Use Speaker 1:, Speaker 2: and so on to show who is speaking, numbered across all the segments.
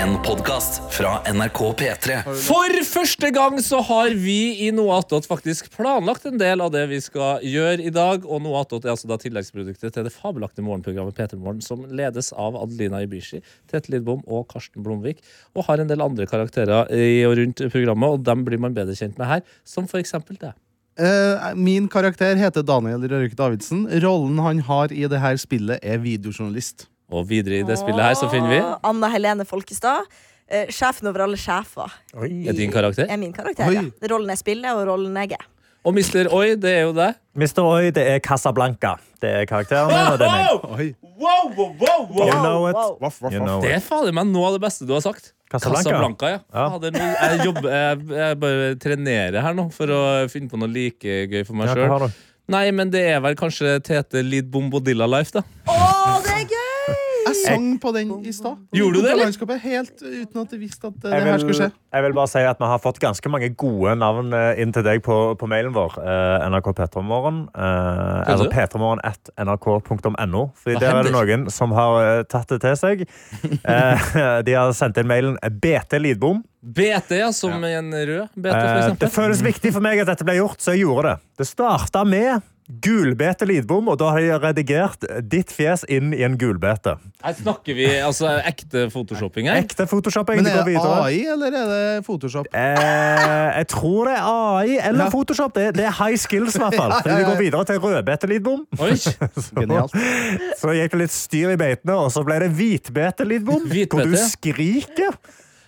Speaker 1: En podcast fra NRK P3
Speaker 2: For første gang så har vi i Noe attåt faktisk planlagt en del av det vi skal gjøre i dag. Og Noe attåt er altså da tilleggsproduktet til det fabelaktige morgenprogrammet P3 Morgen, som ledes av Adelina Ibishi, Tete Lidbom og Karsten Blomvik. Og har en del andre karakterer i og rundt programmet, og dem blir man bedre kjent med her. Som for eksempel deg.
Speaker 3: Eh, min karakter heter Daniel Rørvik Davidsen. Rollen han har i det her spillet, er videojournalist.
Speaker 2: Og videre i det spillet her så finner vi
Speaker 4: Og Anna Helene Folkestad. eh, Sjefen over alle sjefer.
Speaker 2: er din karakter.
Speaker 5: Ah.
Speaker 4: Er min karakter. Ja. Rollen jeg spiller, og rollen jeg er.
Speaker 2: Og Mr. Oi, det er jo deg.
Speaker 5: Mr. Oi, det er Casablanca. Det er karakteren min, og det er meg.
Speaker 3: Oi.
Speaker 5: You know it.
Speaker 4: Wow.
Speaker 3: Vaff, vaff,
Speaker 5: You
Speaker 3: vaff.
Speaker 5: know
Speaker 2: Det
Speaker 5: it.
Speaker 2: er fader meg noe av det beste du har sagt.
Speaker 5: Casablanca.
Speaker 2: ja.
Speaker 5: Ja.
Speaker 2: Fader, nå- jeg, jobber, jeg, jeg bare trenerer her nå for å finne på noe like gøy for meg
Speaker 5: Ja, hva
Speaker 2: sjøl.
Speaker 5: har du?
Speaker 2: Nei, men det er vel kanskje Tete Lid Bombodilla Life, da.
Speaker 4: Å, det er gøy!
Speaker 3: Jeg sang på den i stad.
Speaker 2: Gjorde du det, eller?
Speaker 3: Landskapet, Helt uten at jeg visste at eh,
Speaker 5: Jeg
Speaker 3: det her skulle
Speaker 5: vil,
Speaker 3: skje.
Speaker 5: jeg vil bare si at Vi har fått ganske mange gode navn eh, inn til deg på, på mailen vår. Eh, NRK Petromorgen. Eh,
Speaker 2: Hva du?
Speaker 5: eller petromorgen at nrk.no. Fordi
Speaker 2: Hva
Speaker 5: der er det
Speaker 2: hender?
Speaker 5: noen som har eh, tatt det til seg. Eh, de har sendt inn mailen BT Lidbom.
Speaker 2: BT, ja, som en rød BT, for
Speaker 5: Eh, det
Speaker 2: eksempel.
Speaker 5: føles viktig for meg at dette ble gjort, så jeg gjorde det. Det starta med gulbete Lidbom, og da har de redigert ditt fjes inn i en gulbete.
Speaker 2: Her snakker vi altså ekte photoshopping her.
Speaker 5: Ekte photoshopping.
Speaker 3: Men
Speaker 5: det
Speaker 3: er
Speaker 5: går
Speaker 3: det
Speaker 5: videre.
Speaker 3: AI, eller er det Photoshop?
Speaker 5: Eh, jeg tror det er AI eller
Speaker 3: Ja.
Speaker 5: Photoshop. Det, det er high skills, i hvert fall.
Speaker 3: ja, ja,
Speaker 5: Vi
Speaker 3: ja.
Speaker 5: går videre til rødbete-lidbom.
Speaker 2: Oi,
Speaker 3: Genialt.
Speaker 5: Så gikk det litt styr i beitene, og så ble det hvitbete-lidbom.
Speaker 2: Hvitbete,
Speaker 5: Hvor du
Speaker 2: ja.
Speaker 5: skriker.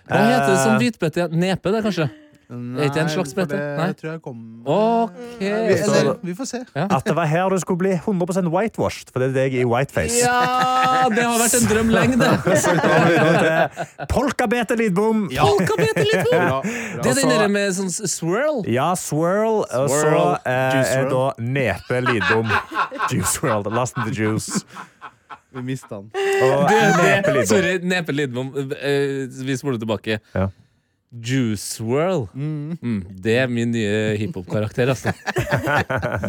Speaker 2: Hva heter det
Speaker 5: Eh.
Speaker 2: som hvitbete? Nepe, det, kanskje? Er ikke det en slags
Speaker 3: for
Speaker 2: bete? Nei.
Speaker 3: Det tror jeg kom
Speaker 2: OK.
Speaker 3: Vi- Eller,
Speaker 2: så-
Speaker 3: vi får se.
Speaker 5: At det var her du skulle bli 100 whitewashed, for det er deg i whiteface.
Speaker 2: Ja, det har vært en drøm lenge, det.
Speaker 5: Så går vi videre til Polkabete-lidbom. Ja.
Speaker 2: Polka-BT Lidbom! Det er
Speaker 5: Og så-
Speaker 2: den der med sånn swirl.
Speaker 5: swirl. Og så
Speaker 2: Swirl.
Speaker 5: eh,
Speaker 3: Juice
Speaker 5: er da nepe-lidbom. Juice world. Last in the juice.
Speaker 3: Vi mista den.
Speaker 5: Og
Speaker 2: Det-
Speaker 5: nepe-lidbom.
Speaker 2: Sorry, Nepe Lidbom. eh, Vi spoler tilbake.
Speaker 5: Ja.
Speaker 2: Juice World. Mm, det er min nye hiphop-karakter, altså.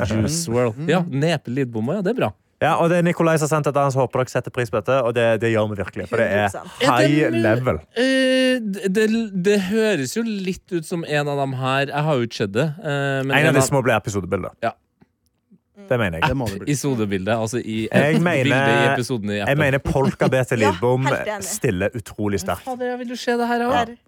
Speaker 2: Juice World. Ja, Nepe Lidbom òg, ja. Det er bra.
Speaker 5: Ja, og det er Nikolai som har sendt dette. Han håper dere setter pris på dette. Og det, det gjør vi virkelig, for det er
Speaker 4: 100%.
Speaker 5: high level.
Speaker 2: Eh, det, det høres jo litt ut som en av dem her. Jeg har jo ikke sett det. eh, men
Speaker 5: En av de små blir episodebildet.
Speaker 2: Ja.
Speaker 5: Det mener
Speaker 3: Det
Speaker 5: jeg.
Speaker 3: må det bli.
Speaker 2: I sodebildet, altså i
Speaker 5: Jeg mener-
Speaker 2: bildet i episoden i
Speaker 5: Jeg
Speaker 2: appen.
Speaker 5: mener Polka BT
Speaker 4: Ja,
Speaker 5: Lidbom
Speaker 4: helt enig.
Speaker 5: stiller utrolig sterkt.
Speaker 2: Fader, jeg vil jo se det her òg.
Speaker 4: Der.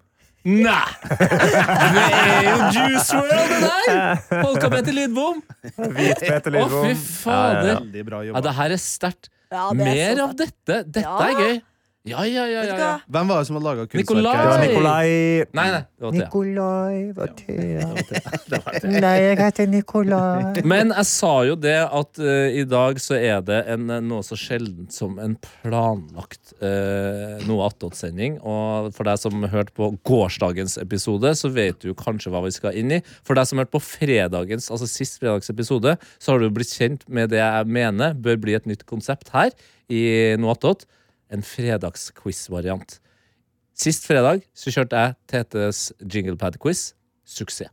Speaker 2: Nei! Det er jo Juice World, det der! Polka-BT Lidbom.
Speaker 5: Hvit BT
Speaker 2: Å,
Speaker 5: Lidbom.
Speaker 2: fy fader.
Speaker 3: Veldig bra
Speaker 2: Ja,
Speaker 3: jobba.
Speaker 2: det her er sterkt.
Speaker 4: Ja, det er
Speaker 2: Mer
Speaker 4: så
Speaker 2: av dette. Dette
Speaker 4: Ja.
Speaker 2: er gøy. Ja, ja, ja.
Speaker 4: Vet
Speaker 2: ja,
Speaker 4: du
Speaker 2: ja.
Speaker 4: hva?
Speaker 3: Hvem var det som hadde laga kunstverket?
Speaker 2: Nikolai!
Speaker 5: Det var
Speaker 3: her?
Speaker 5: Nikolai
Speaker 2: Nei, nei. Det var Thea.
Speaker 5: Nikolai var Thea. Nei, jeg heter Nikolai.
Speaker 2: Men jeg sa jo det at eh, i dag så er det en, eh, noe så sjeldent som en planlagt eh, noe attåt-sending. Og for deg som hørte på gårsdagens episode, så vet du jo kanskje hva vi skal inn i. For deg som hørte på fredagens, altså sist fredags episode, så har du jo blitt kjent med det jeg mener bør bli et nytt konsept her i noe attåt. En fredagsquiz-variant. Sist fredag så kjørte jeg Tetes jinglepad-quiz. Suksess.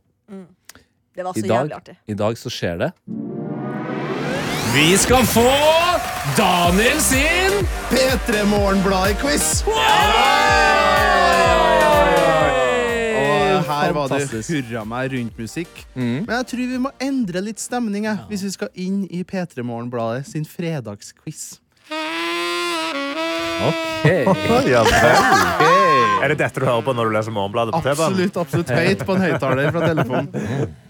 Speaker 4: Det var
Speaker 2: I
Speaker 4: så
Speaker 2: dag,
Speaker 4: Altså, jævlig artig.
Speaker 2: I dag så skjer det. Vi skal få Daniel sin
Speaker 3: P3 Morgenbladet-quiz! Og her var det
Speaker 2: Eh, Fantastisk. Mm.
Speaker 3: hurra meg rundt musikk. Men jeg tror vi må endre litt stemning jeg, hvis vi skal inn i P3 Morgenbladet sin fredagsquiz.
Speaker 2: Ok.
Speaker 5: Er det dette du hører på når du leser Morgenbladet på T-banen?
Speaker 3: Absolutt absolutt høyt på en høyttaler fra telefonen.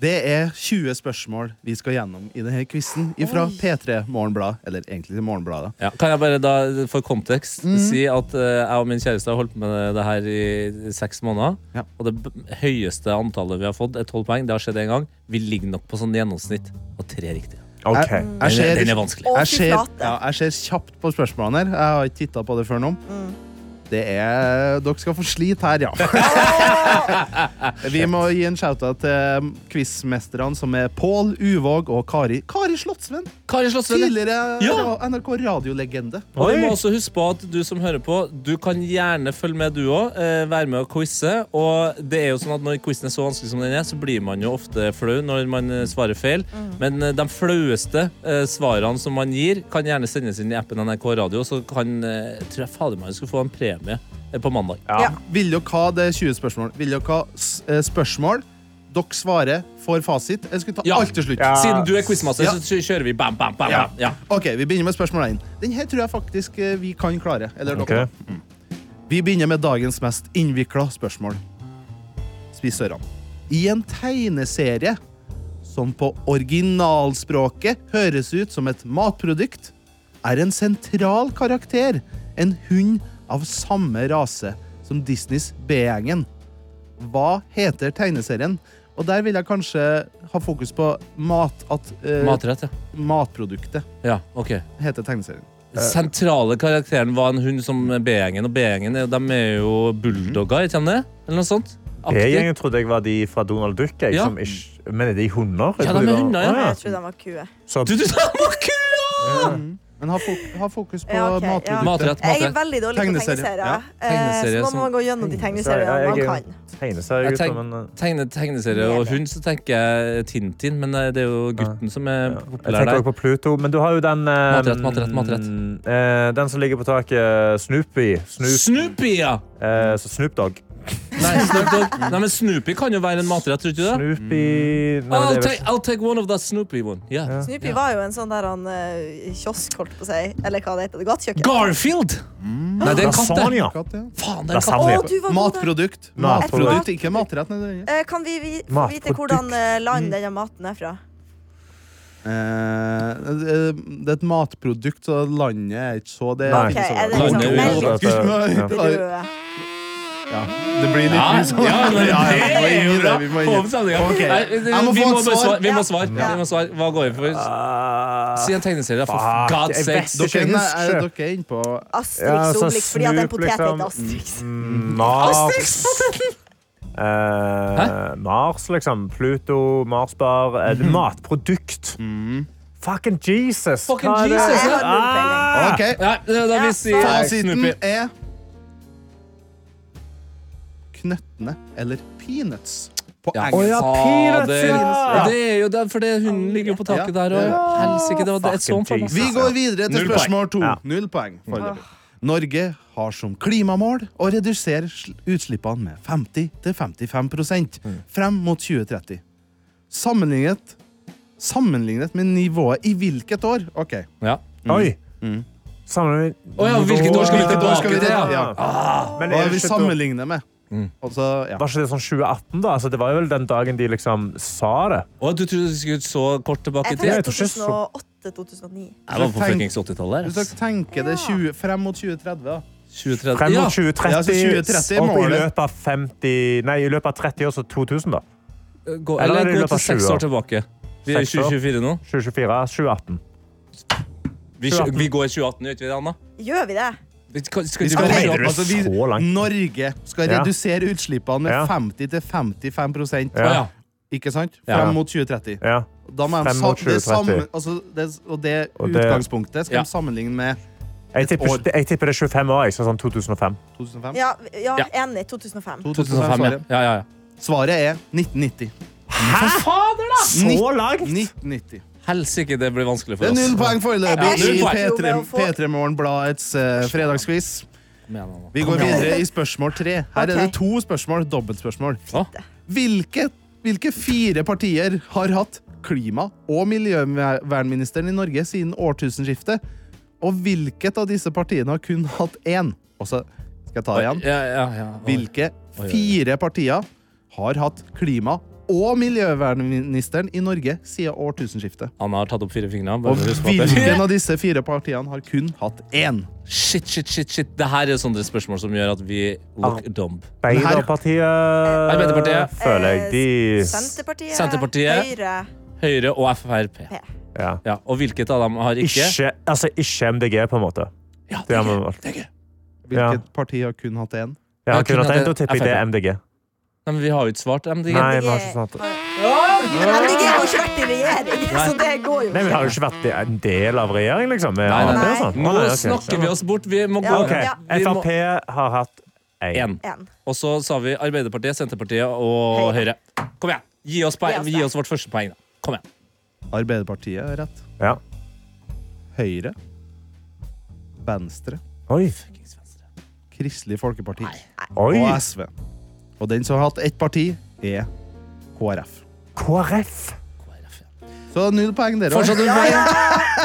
Speaker 3: Det er 20 spørsmål vi skal gjennom i denne quizen fra P3 Morgenbladet. Eller egentlig Morgenbladet.
Speaker 2: Ja, kan jeg bare da, for kontekst,
Speaker 3: Mm.
Speaker 2: si at eh, jeg og min kjæreste har holdt på med det her i seks måneder.
Speaker 3: Ja.
Speaker 2: Og det b- høyeste antallet vi har fått, er tolv poeng. Det har skjedd én gang. Vi ligger nok på sånn gjennomsnitt og tre riktige.
Speaker 5: Ok.
Speaker 3: Jeg, jeg,
Speaker 2: Den, er-
Speaker 3: ser,
Speaker 2: den er vanskelig.
Speaker 4: Å,
Speaker 3: jeg,
Speaker 4: fy
Speaker 3: ser,
Speaker 4: flate.
Speaker 3: ja, jeg ser kjapt på spørsmålene her. Jeg har ikke titta på det før nå. Det er, Dere skal få slite her, ja. Vi må gi en shout-out til quizmesterne, som er Pål Uvåg og Kari Kari Slottsvenn.
Speaker 2: Kari Slottsvenn.
Speaker 3: Tidligere
Speaker 2: Ja.
Speaker 3: ra- NRK radiolegende.
Speaker 2: Og vi
Speaker 5: Oi.
Speaker 2: må også huske på at du som hører på, du kan gjerne følge med, du òg. Eh, være med og quize. Og det er jo sånn at når quizen er så vanskelig som den er, så blir man jo ofte flau når man eh, svarer feil. Men eh, de flaueste eh, svarene som man gir, kan gjerne sendes inn i appen NRK Radio, så kan eh, tror jeg fader meg vi skulle få en premie eh, på mandag.
Speaker 5: Ja.
Speaker 4: Ja.
Speaker 3: Vil dere ha det er 20 spørsmål? Vil dere ha s- eh, spørsmål? Dere svarer, får fasit. Jeg skulle ta
Speaker 2: Ja.
Speaker 3: alt til slutt.
Speaker 5: Ja.
Speaker 2: Siden du er quizmaster,
Speaker 3: Ja.
Speaker 2: så kjø- kjører vi bam, bam, bam.
Speaker 3: Ja.
Speaker 2: bam. Ja.
Speaker 3: Ok, Vi begynner med spørsmålet én. Den her tror jeg faktisk eh, vi kan klare. Eller dere.
Speaker 5: Ok.
Speaker 3: Vi begynner med dagens mest innvikla spørsmål. Spissørene. I en tegneserie som på originalspråket høres ut som et matprodukt, er en sentral karakter en hund av samme rase som Disneys B-gjengen. Hva heter tegneserien? Og der vil jeg kanskje ha fokus på mat, at eh,
Speaker 2: Matrett, ja.
Speaker 3: matproduktet
Speaker 2: ja ok.
Speaker 3: heter tegneserien.
Speaker 5: Eh.
Speaker 2: sentrale karakteren var en hund som B-gjengen, og B-gjengen er- de er jo bulldogger, ikke sant det? Eller noe sånt?
Speaker 5: B-gjengen trodde jeg var de fra Donald Duck. Jeg,
Speaker 2: Ja.
Speaker 5: som ikke, men er de hunder? Jeg
Speaker 2: Ja,
Speaker 5: tror
Speaker 2: de er
Speaker 5: var-
Speaker 2: hunder, ja.
Speaker 5: Å,
Speaker 4: Jeg tror den var kue.
Speaker 5: Så
Speaker 2: Du, du, det var kua!
Speaker 3: Men ha, fo- ha fokus på
Speaker 4: Ja, ok, ja.
Speaker 3: matproduktet.
Speaker 2: Matrett,
Speaker 4: Jeg er
Speaker 2: matrett.
Speaker 4: veldig dårlig på
Speaker 3: Tegneserie.
Speaker 4: tegneserier.
Speaker 3: Ja.
Speaker 4: eh,
Speaker 2: Tegneserie
Speaker 4: Så nå må
Speaker 2: som-
Speaker 4: man gå gjennom de
Speaker 5: Ja,
Speaker 4: tegneseriene
Speaker 5: jeg-
Speaker 4: man kan.
Speaker 5: tegneserie,
Speaker 2: Jeg
Speaker 5: gutter,
Speaker 2: tenk-
Speaker 5: men
Speaker 2: Tegne, tegneserie og hund, så tenker jeg Tintin, men eh, det er jo gutten som er
Speaker 5: Jeg tenker
Speaker 2: populær
Speaker 5: også
Speaker 2: der.
Speaker 5: på Pluto, men du har jo den eh,
Speaker 2: Matrett, matrett, matrett.
Speaker 5: eh, Den som ligger på taket. Snoopy. Snoop,
Speaker 2: Snoopy, ja!
Speaker 5: eh, så Snoop Dogg.
Speaker 2: Nei, Snoop Dogg. Nei, men Snoopy kan jo være en matrett, tror du ikke det?
Speaker 5: Snoopy Nei, men
Speaker 2: I'll
Speaker 5: det er vel
Speaker 2: take, I'll take one of that Snoopy one. Yeah.
Speaker 4: Snoopy var jo en sånn der han eh, kiosk, holdt på å si. Eller hva det heter. Gatekjøkken.
Speaker 2: Garfield!
Speaker 5: Mm.
Speaker 2: Nei, det er en katt, det.
Speaker 5: Lasagna.
Speaker 3: Katt, ja.
Speaker 2: Faen, det er en
Speaker 4: Å,
Speaker 5: Lasagne.
Speaker 2: katt.
Speaker 4: du var god der.
Speaker 3: Matprodukt.
Speaker 5: Matprodukt.
Speaker 3: Matprodukt, ikke matrett. nødvendigvis.
Speaker 4: Eh, Kan vi, vi få
Speaker 5: Matprodukt.
Speaker 4: vite hvordan eh, land denne maten er fra?
Speaker 3: Eh, det det er et matprodukt, så landet er ikke så Det,
Speaker 5: Nei.
Speaker 4: Ok, er det
Speaker 5: Landet
Speaker 4: liksom
Speaker 2: er
Speaker 5: jo-
Speaker 4: Belgia?
Speaker 5: Gud,
Speaker 3: nei.
Speaker 5: ja.
Speaker 4: Brød.
Speaker 3: Ja, det blir litt mye sånn.
Speaker 2: Ja, men
Speaker 3: Ja, ja, vi må
Speaker 2: det er
Speaker 3: inn i
Speaker 2: jo
Speaker 3: det,
Speaker 2: bra.
Speaker 3: vi må inn
Speaker 2: Få
Speaker 3: i det.
Speaker 2: opp stemninga.
Speaker 3: Ok.
Speaker 2: Nei,
Speaker 3: Jeg må
Speaker 2: Vi må
Speaker 3: få
Speaker 2: bare
Speaker 3: et svar.
Speaker 2: svare. Vi
Speaker 4: Ja.
Speaker 2: må svare. Vi må svare. Hva går vi for?
Speaker 5: Ah,
Speaker 2: Si en tegneserie, da, for
Speaker 5: Fuck,
Speaker 2: God's
Speaker 5: jeg
Speaker 2: sake.
Speaker 5: vet
Speaker 3: Dere,
Speaker 5: ikke.
Speaker 3: nei, er
Speaker 5: Husker.
Speaker 3: dere er inne på
Speaker 5: Ja,
Speaker 4: Asterix
Speaker 5: så
Speaker 4: og Obelix, fordi at en
Speaker 5: Snoop,
Speaker 4: potet
Speaker 5: liksom.
Speaker 4: heter Asterix.
Speaker 5: mm, Mars. Eh, Mars, liksom. Pluto, Marsbar. Eh,
Speaker 2: Mhm.
Speaker 5: det er matprodukt. Fucking Jesus!
Speaker 2: Fucking
Speaker 5: Hva er det?
Speaker 2: Jesus,
Speaker 4: ja.
Speaker 5: Ah!
Speaker 3: OK.
Speaker 2: Nei, da da vi
Speaker 4: Ja,
Speaker 2: sier
Speaker 4: faen.
Speaker 3: Fasiten
Speaker 2: Snoopy.
Speaker 3: er knøttene eller peanuts på
Speaker 2: Ja.
Speaker 3: engelsk.
Speaker 5: Å, ja, peanuts, ja.
Speaker 2: Og Det er jo der, for det, hunden ligger jo på taket der og Helsike, det var det jeg så for meg.
Speaker 3: Vi går videre til
Speaker 2: Null
Speaker 3: spørsmål to.
Speaker 5: Ja.
Speaker 3: Null poeng. foreløpig. Norge har som klimamål å redusere sl- utslippene med 50-55 frem mot 2030. Sammenlignet, sammenlignet med nivået i hvilket år? Ok.
Speaker 2: Ja.
Speaker 5: Oi! Samler
Speaker 2: Mm.
Speaker 5: vi
Speaker 2: Å ja, hvilket år skal vi
Speaker 3: Hvilket år skal vi
Speaker 2: tilbake til?
Speaker 3: tilbake?
Speaker 2: Ja. Ah.
Speaker 3: Ja.
Speaker 5: Men
Speaker 3: Hva
Speaker 5: er
Speaker 3: er
Speaker 5: det
Speaker 3: vi
Speaker 5: ikke da-
Speaker 3: sammenligner med? Og så, ja.
Speaker 5: Var ikke det sånn 2018, da? Altså, det var jo vel den dagen de liksom sa det.
Speaker 2: Å, du trodde du skulle så kort tilbake
Speaker 4: Jeg
Speaker 2: i tid?
Speaker 5: Jeg
Speaker 4: tenkte
Speaker 5: tror ikke så-
Speaker 4: 2008-2009.
Speaker 2: Jeg var på
Speaker 3: Tenk-
Speaker 2: fuckings 80-tallet.
Speaker 3: Hvis
Speaker 2: her, ass.
Speaker 3: dere tenker det
Speaker 4: Ja.
Speaker 3: 20, frem mot 2030, da.
Speaker 2: 20-30.
Speaker 5: Frem
Speaker 2: Ja.
Speaker 5: mot 2030,
Speaker 3: Ja, altså 2030 er
Speaker 5: og i
Speaker 3: målet.
Speaker 5: løpet av 50 Nei, i løpet av 30 år, så 2000, da.
Speaker 2: Gå,
Speaker 5: Eller er
Speaker 2: eller
Speaker 5: det i
Speaker 2: gå
Speaker 5: løpet av
Speaker 2: til seks
Speaker 5: 20 år?
Speaker 2: år tilbake. Vi er i
Speaker 5: Seks år.
Speaker 2: 2024 nå.
Speaker 5: 2024, 2018.
Speaker 2: Vi,
Speaker 5: 2018.
Speaker 2: vi går i 2018, gjør ikke vi det, Anna?
Speaker 4: Gjør vi det?
Speaker 2: Vi skal, skal
Speaker 3: Vi
Speaker 2: ikke gå
Speaker 3: skal
Speaker 2: i
Speaker 5: Mener du
Speaker 2: 2018.
Speaker 3: altså, vi,
Speaker 5: så langt?
Speaker 3: Norge skal
Speaker 5: Ja.
Speaker 3: redusere utslippene med
Speaker 5: Ja.
Speaker 3: 50-55
Speaker 2: Å,
Speaker 5: Ja.
Speaker 2: ja.
Speaker 3: ikke sant?
Speaker 2: Ja.
Speaker 3: Frem mot 2030.
Speaker 5: Ja.
Speaker 3: Da må de
Speaker 5: Frem
Speaker 3: sa-
Speaker 5: mot
Speaker 3: det
Speaker 5: 2030.
Speaker 3: sammen, altså det, og det
Speaker 5: Og det-
Speaker 3: utgangspunktet skal
Speaker 2: Ja.
Speaker 3: de sammenligne med
Speaker 5: Jeg tipper,
Speaker 3: år.
Speaker 5: jeg tipper det er 25 år. Jeg sa sånn 2005.
Speaker 3: 2005.
Speaker 4: Ja, ja
Speaker 2: Ja.
Speaker 4: enig. 2005.
Speaker 2: 2005, ja.
Speaker 3: svaret.
Speaker 2: ja, ja, ja.
Speaker 3: Svaret er 1990.
Speaker 5: Så langt!
Speaker 3: 1990.
Speaker 2: Helsike, det blir vanskelig
Speaker 3: Det
Speaker 2: for
Speaker 3: er null
Speaker 2: oss.
Speaker 3: poeng foreløpig
Speaker 4: Jeg
Speaker 2: blir
Speaker 3: i
Speaker 2: skyter
Speaker 4: jo med å
Speaker 3: P3
Speaker 4: få-
Speaker 3: P3 Morgen Bladets eh, fredagsquiz.
Speaker 2: Mener han, da.
Speaker 3: Vi går videre i spørsmål tre. Her er det
Speaker 4: Ok.
Speaker 3: to spørsmål. Dobbeltspørsmål.
Speaker 2: Å,
Speaker 3: Hvilke, hvilke fire partier har hatt klima- og miljøvernministeren i Norge siden årtusenskiftet? Og hvilket av disse partiene har kun hatt én? Og så skal jeg ta det igjen.
Speaker 2: Ja, ja, ja. Oi. Oi,
Speaker 3: Hvilke
Speaker 2: oi, oi.
Speaker 3: fire partier har hatt klima- og miljøvernministeren i Norge siden årtusenskiftet?
Speaker 2: Anna har tatt opp fire fingre.
Speaker 3: Og
Speaker 2: Bare husk på at det-
Speaker 3: hvilken av disse fire partiene har kun hatt én?
Speaker 2: Shit, shit, shit, shit. Det her er sånne spørsmål som gjør at vi look dumb.
Speaker 5: Arbeiderpartiet
Speaker 2: Arbeiderpartiet.
Speaker 5: Føler jeg de
Speaker 4: Eh, Senterpartiet,
Speaker 2: Senterpartiet.
Speaker 4: Høyre
Speaker 2: Høyre og Frp.
Speaker 5: ja.
Speaker 2: Ja, og hvilket av dem har ikke?
Speaker 5: Ikke, altså, ikke MDG, på en måte.
Speaker 2: Ja,
Speaker 5: Det
Speaker 2: det
Speaker 5: har
Speaker 2: er
Speaker 5: vi
Speaker 2: gøy.
Speaker 5: valgt.
Speaker 2: Det er gøy.
Speaker 3: Hvilket parti har kun hatt én?
Speaker 5: Ja,
Speaker 2: Jeg
Speaker 5: kunne
Speaker 2: kunne hatt
Speaker 5: tenkt å tippe i
Speaker 2: FrP.
Speaker 5: det er MDG.
Speaker 2: Nei, men vi har jo ikke svart MDG.
Speaker 5: Nei,
Speaker 4: MDG
Speaker 5: vi har ikke sånn sant.
Speaker 4: MDG har ikke vært i regjering, så det går jo.
Speaker 5: Nei, men Har jo ikke vært en del av regjering, liksom? Med
Speaker 2: Nei, nei,
Speaker 5: Frp og
Speaker 4: nei.
Speaker 5: sånn.
Speaker 2: Nå
Speaker 5: Å, nei, ok.
Speaker 2: snakker vi oss bort. Vi må gå.
Speaker 4: Ja,
Speaker 5: OK.
Speaker 4: Ja.
Speaker 2: Vi må-
Speaker 5: Frp har hatt én.
Speaker 2: En.
Speaker 4: En.
Speaker 2: Og så sa vi Arbeiderpartiet, Senterpartiet og Høyre. Kom igjen. Gi oss, poeng.
Speaker 4: Gi oss det.
Speaker 2: Gi oss vårt første poeng, da. Kom igjen.
Speaker 3: Arbeiderpartiet har rett.
Speaker 5: Ja.
Speaker 3: Høyre. Venstre.
Speaker 5: Oi.
Speaker 3: Kristelig Folkeparti
Speaker 5: Oi!
Speaker 3: og SV. Og den som har hatt ett parti, er KrF.
Speaker 5: KrF!
Speaker 3: Så null poeng, dere også.
Speaker 2: Fortsatt null poeng.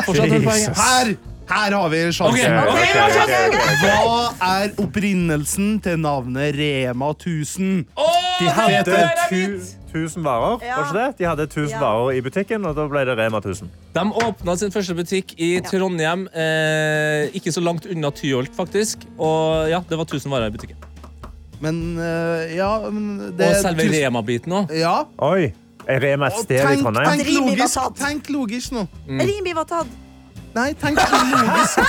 Speaker 2: Fortsatt null poeng.
Speaker 5: Jesus.
Speaker 3: Her, her har vi
Speaker 2: Ok,
Speaker 3: sjansen.
Speaker 2: ok,
Speaker 3: Hva er opprinnelsen til navnet Rema 1000?
Speaker 5: De hadde
Speaker 2: Peter.
Speaker 5: tu, 1000 varer,
Speaker 4: Ja.
Speaker 5: var ikke det? De hadde 1000
Speaker 4: Ja.
Speaker 5: varer i butikken, og da ble det Rema 1000.
Speaker 2: De åpna sin første butikk i Trondheim, eh, ikke så langt unna Tyholt, faktisk. Og ja, det var 1000 varer i butikken.
Speaker 3: Men eh, ja men det,
Speaker 2: Og selve Rema-biten òg.
Speaker 3: Ja.
Speaker 5: Oi! Er Rema et
Speaker 3: Og
Speaker 5: sted i
Speaker 3: tenk,
Speaker 5: Trondheim?
Speaker 3: tenk,
Speaker 4: Driv i
Speaker 3: logisk,
Speaker 4: basalt.
Speaker 3: tenk logisk nå.
Speaker 2: Mm.
Speaker 4: Rimi var tatt.
Speaker 3: Nei, tenk logisk.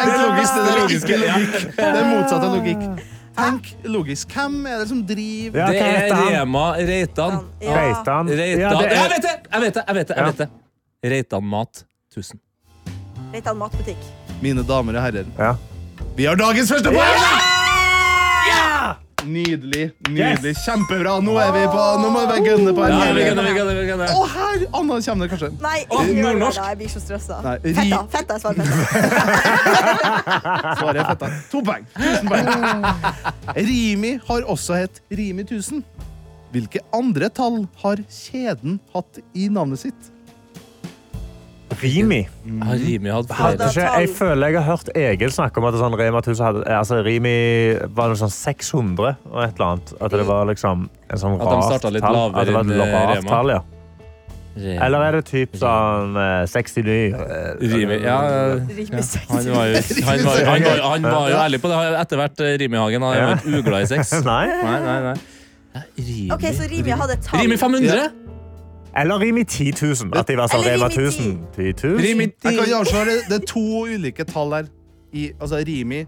Speaker 3: Tenk logisk, det er det logiske. Det er motsatt av logikk. Tenk logisk. Hvem er det som driver
Speaker 5: Ja,
Speaker 2: Det
Speaker 5: hva
Speaker 2: er
Speaker 5: heter han?
Speaker 2: Rema Reitan.
Speaker 4: Ja.
Speaker 5: Reitan. Ja,
Speaker 2: Reitan.
Speaker 5: det
Speaker 2: Jeg
Speaker 5: er,
Speaker 2: vet det! Jeg vet det! jeg vet det,
Speaker 5: Ja.
Speaker 2: jeg vet det. Reitan Mat 1000.
Speaker 4: Reitan matbutikk.
Speaker 3: Mine damer og herrer,
Speaker 5: ja.
Speaker 3: vi har dagens første poeng! Nydelig. nydelig, Kjempebra. Nå er vi på, nå må vi gønne på
Speaker 2: Ja,
Speaker 3: en
Speaker 2: vi
Speaker 3: hel-
Speaker 2: kan det, vi kan det, vi kan det.
Speaker 3: Og her Anna kommer det kanskje.
Speaker 4: Nei,
Speaker 2: Åh,
Speaker 4: ikke gjør det.
Speaker 2: nordnorsk.
Speaker 4: Nei, Jeg blir så stressa.
Speaker 3: Nei, ri-
Speaker 4: Fetta. Fetta er svaret. Fetta.
Speaker 3: Svaret er fetta. To poeng. Tusen poeng. Rimi har også hett Rimi 1000. Hvilke andre tall har kjeden hatt i navnet sitt?
Speaker 5: Rimi.
Speaker 2: Har Rimi hatt
Speaker 5: Hadde
Speaker 2: flere?
Speaker 5: ikke, jeg føler jeg har hørt Egil snakke om at sånn Rema 1000 hadde altså Rimi var noe sånn 600 og et eller annet. At det var liksom en sånn
Speaker 2: At de
Speaker 5: rart
Speaker 2: startet litt
Speaker 5: tall.
Speaker 2: lavere
Speaker 5: At det var et
Speaker 2: enn, eh,
Speaker 5: lavt
Speaker 2: Rema.
Speaker 5: tall, ja.
Speaker 2: Rema.
Speaker 5: Eller er det typ sånn eh, 69? eh,
Speaker 2: Rimi, ja
Speaker 4: Rimi sex.
Speaker 2: Han var jo, han var, han var, han var jo ærlig på det etter hvert. eh, Rimi-Hagen Han har vært uglad i sex.
Speaker 5: Nei.
Speaker 2: Nei, nei, nei. Rimi
Speaker 4: OK, så Rimi hadde et tall.
Speaker 2: Rimi 500!
Speaker 5: Eller Rimi 10 000. At de var sånn
Speaker 4: Eller
Speaker 5: Rema
Speaker 4: Rimi
Speaker 5: 1000. 10 000.
Speaker 2: Rimi
Speaker 3: Jeg kan
Speaker 2: 10.
Speaker 3: avsløre det, det er to ulike tall her. I, altså Rimi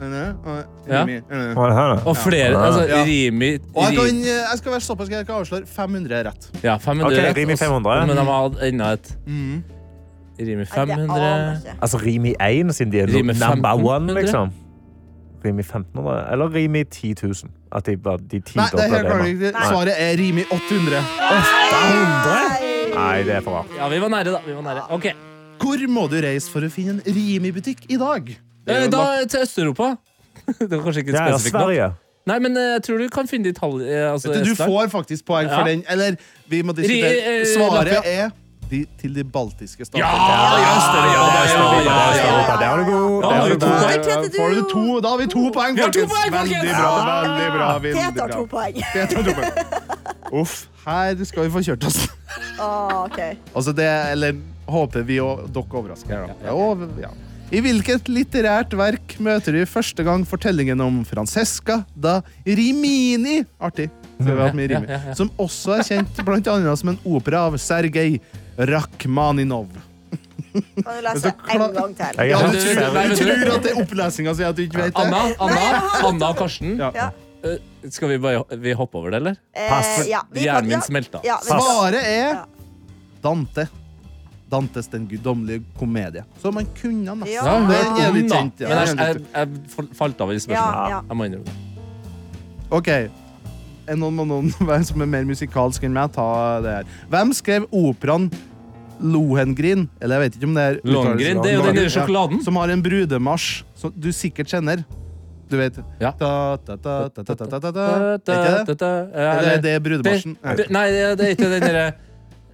Speaker 3: og Rimi.
Speaker 5: Hva er det her, da?
Speaker 2: Og flere. Altså,
Speaker 3: Ja.
Speaker 2: Rimi
Speaker 3: Og jeg, kan,
Speaker 2: Ri-
Speaker 3: jeg skal være såpass grei at jeg kan avsløre 500 er rett.
Speaker 2: Ja, 500.
Speaker 5: Ok, Rimi
Speaker 2: og s-
Speaker 5: 500.
Speaker 2: Men de hadde enda et
Speaker 3: Mhm.
Speaker 2: Rimi
Speaker 4: Nei, det aner
Speaker 2: 500.
Speaker 4: jeg ikke.
Speaker 5: Altså Rimi 1, siden de er
Speaker 2: Rimi
Speaker 5: number
Speaker 2: 1500.
Speaker 5: one, liksom. Rimi 1500. Eller Rimi 10 000. At de var
Speaker 3: Nei,
Speaker 5: de
Speaker 3: det er
Speaker 5: tidobla
Speaker 3: helt klart
Speaker 5: Rema.
Speaker 3: riktig. Svaret er Rimi 800.
Speaker 5: 800? Nei, det er for rart.
Speaker 2: Ja, vi var nære, da. Vi var nære. Ok. eh,
Speaker 3: Hvor må du reise for å finne en Rimi-butikk i dag?
Speaker 2: Eh, Da til Øst-Europa. Det var kanskje ikke
Speaker 5: Ja, ja,
Speaker 2: spesifikt nok.
Speaker 5: Sverige.
Speaker 2: Nei, men eh, jeg tror du kan finne de tall... eh, Altså,
Speaker 3: Du
Speaker 2: Estland.
Speaker 3: får faktisk poeng for
Speaker 2: Ja.
Speaker 3: den. Eller vi må
Speaker 2: Ri- eh,
Speaker 3: diskutere. Svaret
Speaker 2: Latvia.
Speaker 3: er de, til de baltiske statene.
Speaker 2: Ja, ja, Øst-Europa,
Speaker 5: Ja,
Speaker 2: ja,
Speaker 5: Øst-Europa,
Speaker 2: ja, ja, ja.
Speaker 5: Øst-Europa. Der var du god.
Speaker 2: Ja,
Speaker 5: Der var
Speaker 2: du
Speaker 5: du
Speaker 2: er
Speaker 5: god.
Speaker 2: god.
Speaker 4: Poeng til
Speaker 3: Får du
Speaker 4: du.
Speaker 3: to, da har vi to poeng,
Speaker 2: Vi har to
Speaker 3: folkens.
Speaker 2: poeng, folkens.
Speaker 3: Veldig bra. veldig bra, veldig
Speaker 4: Tete har
Speaker 3: bra.
Speaker 4: to poeng.
Speaker 3: Peter har to poeng. Uff, her skal vi få kjørt oss.
Speaker 4: Åh, OK.
Speaker 3: Altså det, eller håper vi og dere overrasker her, da. Og- ja. I hvilket litterært verk møter vi første gang fortellingen om Francesca da Rimini Artig. så vi har hatt mye rim.
Speaker 2: Ja, ja, ja.
Speaker 3: Som også er kjent blant annet som en opera av Sergej Rakhmaninov.
Speaker 4: Kan du
Speaker 3: Men så
Speaker 4: lese en
Speaker 3: klar-
Speaker 4: gang til?
Speaker 5: Jeg
Speaker 3: Ja,
Speaker 5: har
Speaker 3: du
Speaker 2: ser-
Speaker 3: tror,
Speaker 2: Nei,
Speaker 3: du
Speaker 2: vet du-
Speaker 3: tror at det er opplesinga si at du ikke vet det?
Speaker 2: Anna, Anna, Anna og Karsten.
Speaker 3: Ja.
Speaker 4: Ja.
Speaker 2: Eh, Skal vi bare vi hoppe over det, eller?
Speaker 5: Pass.
Speaker 4: Eh, ja, vi kan-
Speaker 2: Hjernen min
Speaker 4: ja,
Speaker 2: smelta.
Speaker 4: Ja, vi kan-
Speaker 3: Svaret er
Speaker 4: Ja.
Speaker 3: Dante. Dantes Den guddommelige komedie. Så man kunne nesten.
Speaker 4: Ja.
Speaker 3: Det er litt
Speaker 2: Anna.
Speaker 3: kjent. Ja.
Speaker 2: Men
Speaker 3: det
Speaker 2: jeg,
Speaker 3: er litt
Speaker 2: jeg, jeg falt av i
Speaker 4: Ja,
Speaker 2: spørsmålet.
Speaker 4: ja.
Speaker 2: Jeg må innrømme det.
Speaker 3: Ok, Er noen, må noen være som er mer musikalsk enn meg, ta det her. Hvem skrev operaen Lohengrin? Eller jeg vet ikke om det er
Speaker 2: Lohengrin, det er jo den der sjokoladen.
Speaker 3: Ja, Som har en brudemarsj som du sikkert kjenner. Du vet
Speaker 2: Ja.
Speaker 3: Ta, ta, ta, ta, ta, ta, ta, ta. Er ikke det? Eller er
Speaker 2: Eller
Speaker 3: det brudemarsjen?
Speaker 2: Nei, Eh, det det er ikke den derre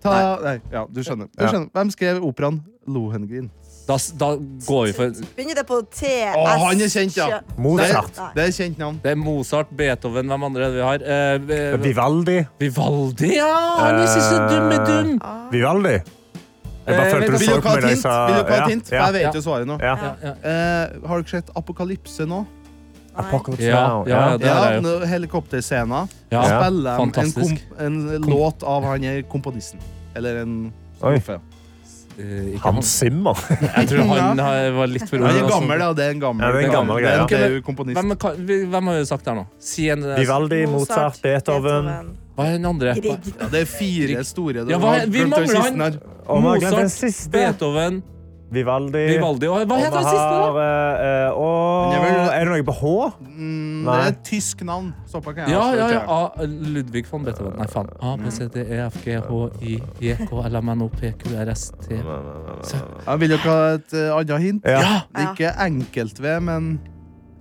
Speaker 3: Ta, nei, ja, du skjønner. Du
Speaker 5: Ja.
Speaker 3: skjønner. Hvem skrev operaen Lohengrin?
Speaker 2: da, da går vi for
Speaker 4: Begynner det på T, S
Speaker 3: Å, han er kjent, ja.
Speaker 5: Mozart.
Speaker 4: Nei.
Speaker 3: Det er et kjent navn.
Speaker 2: Det er Mozart, Beethoven, hvem andre er det vi har? Eh, vi-
Speaker 5: Vivaldi. Eh,
Speaker 2: Vivaldi, ja! Han er siste dumme dum.
Speaker 5: Vivaldi. Jeg bare
Speaker 2: Eh,
Speaker 5: følte du
Speaker 2: vent,
Speaker 3: Vil
Speaker 5: så
Speaker 3: dere
Speaker 5: på
Speaker 3: ha
Speaker 5: meg
Speaker 3: et
Speaker 5: da jeg
Speaker 3: hint?
Speaker 5: sa
Speaker 3: Vil dere ha et hint? For
Speaker 5: Ja,
Speaker 3: jeg
Speaker 2: Ja.
Speaker 3: vet jo svaret nå.
Speaker 5: ja.
Speaker 4: Ja.
Speaker 2: Ja,
Speaker 3: Eh, har dere sett Apokalypse nå?
Speaker 5: Apocalypse
Speaker 2: Ja,
Speaker 5: Now,
Speaker 2: ja, det har
Speaker 3: Ja,
Speaker 2: jeg jo.
Speaker 3: nå- helikopterscena.
Speaker 2: Ja,
Speaker 3: Ja. Spiller en, en,
Speaker 2: fantastisk.
Speaker 3: komp en låt av han her komponisten. Eller en
Speaker 5: Oi.
Speaker 3: strofe.
Speaker 2: Eh, ikke han.
Speaker 5: Hans Zimmer.
Speaker 2: Jeg tror han har- var litt for ung.
Speaker 3: Han er
Speaker 2: altså.
Speaker 3: gammel, ja. Det er en gammel
Speaker 5: Ja, det er en gammel
Speaker 3: Det er en
Speaker 5: greie,
Speaker 2: ja.
Speaker 3: EU-komponist.
Speaker 2: Hvem, er ka- vi- hvem har vi sagt her nå? Si en eh,
Speaker 5: Vivaldi, Mozart, Beethoven.
Speaker 2: Hva er den andre?
Speaker 4: Grieg.
Speaker 3: Ja, det er fire store.
Speaker 2: Ja,
Speaker 3: Du
Speaker 2: hva- vi
Speaker 3: har glemt den
Speaker 2: mangler
Speaker 3: siste
Speaker 2: han.
Speaker 3: her.
Speaker 5: Og vi har glemt den
Speaker 2: Mozart,
Speaker 5: siste.
Speaker 2: Beethoven,
Speaker 5: Vivaldi.
Speaker 2: Vivaldi og Hva
Speaker 5: Og
Speaker 2: heter
Speaker 5: vi
Speaker 2: den siste? da?
Speaker 5: har, eh, eh, åh,
Speaker 3: Men jeg vil-
Speaker 5: Er det noe på H?
Speaker 3: Mm, det
Speaker 5: Nei.
Speaker 3: er et tysk navn. Såpass kan jeg
Speaker 2: Ja, ja,
Speaker 3: avsløre,
Speaker 2: ja.
Speaker 3: tror jeg.
Speaker 2: A, Ludvig von Beethoven. Nei, faen. A, B, C, D, E, F, G, H, I, J, K, L, M, N, O, P, Q, R, S, T
Speaker 3: Ja, Vil dere ha et eh, annet hint?
Speaker 5: Ja.
Speaker 2: Ja!
Speaker 3: Det er ikke enkelt ved, men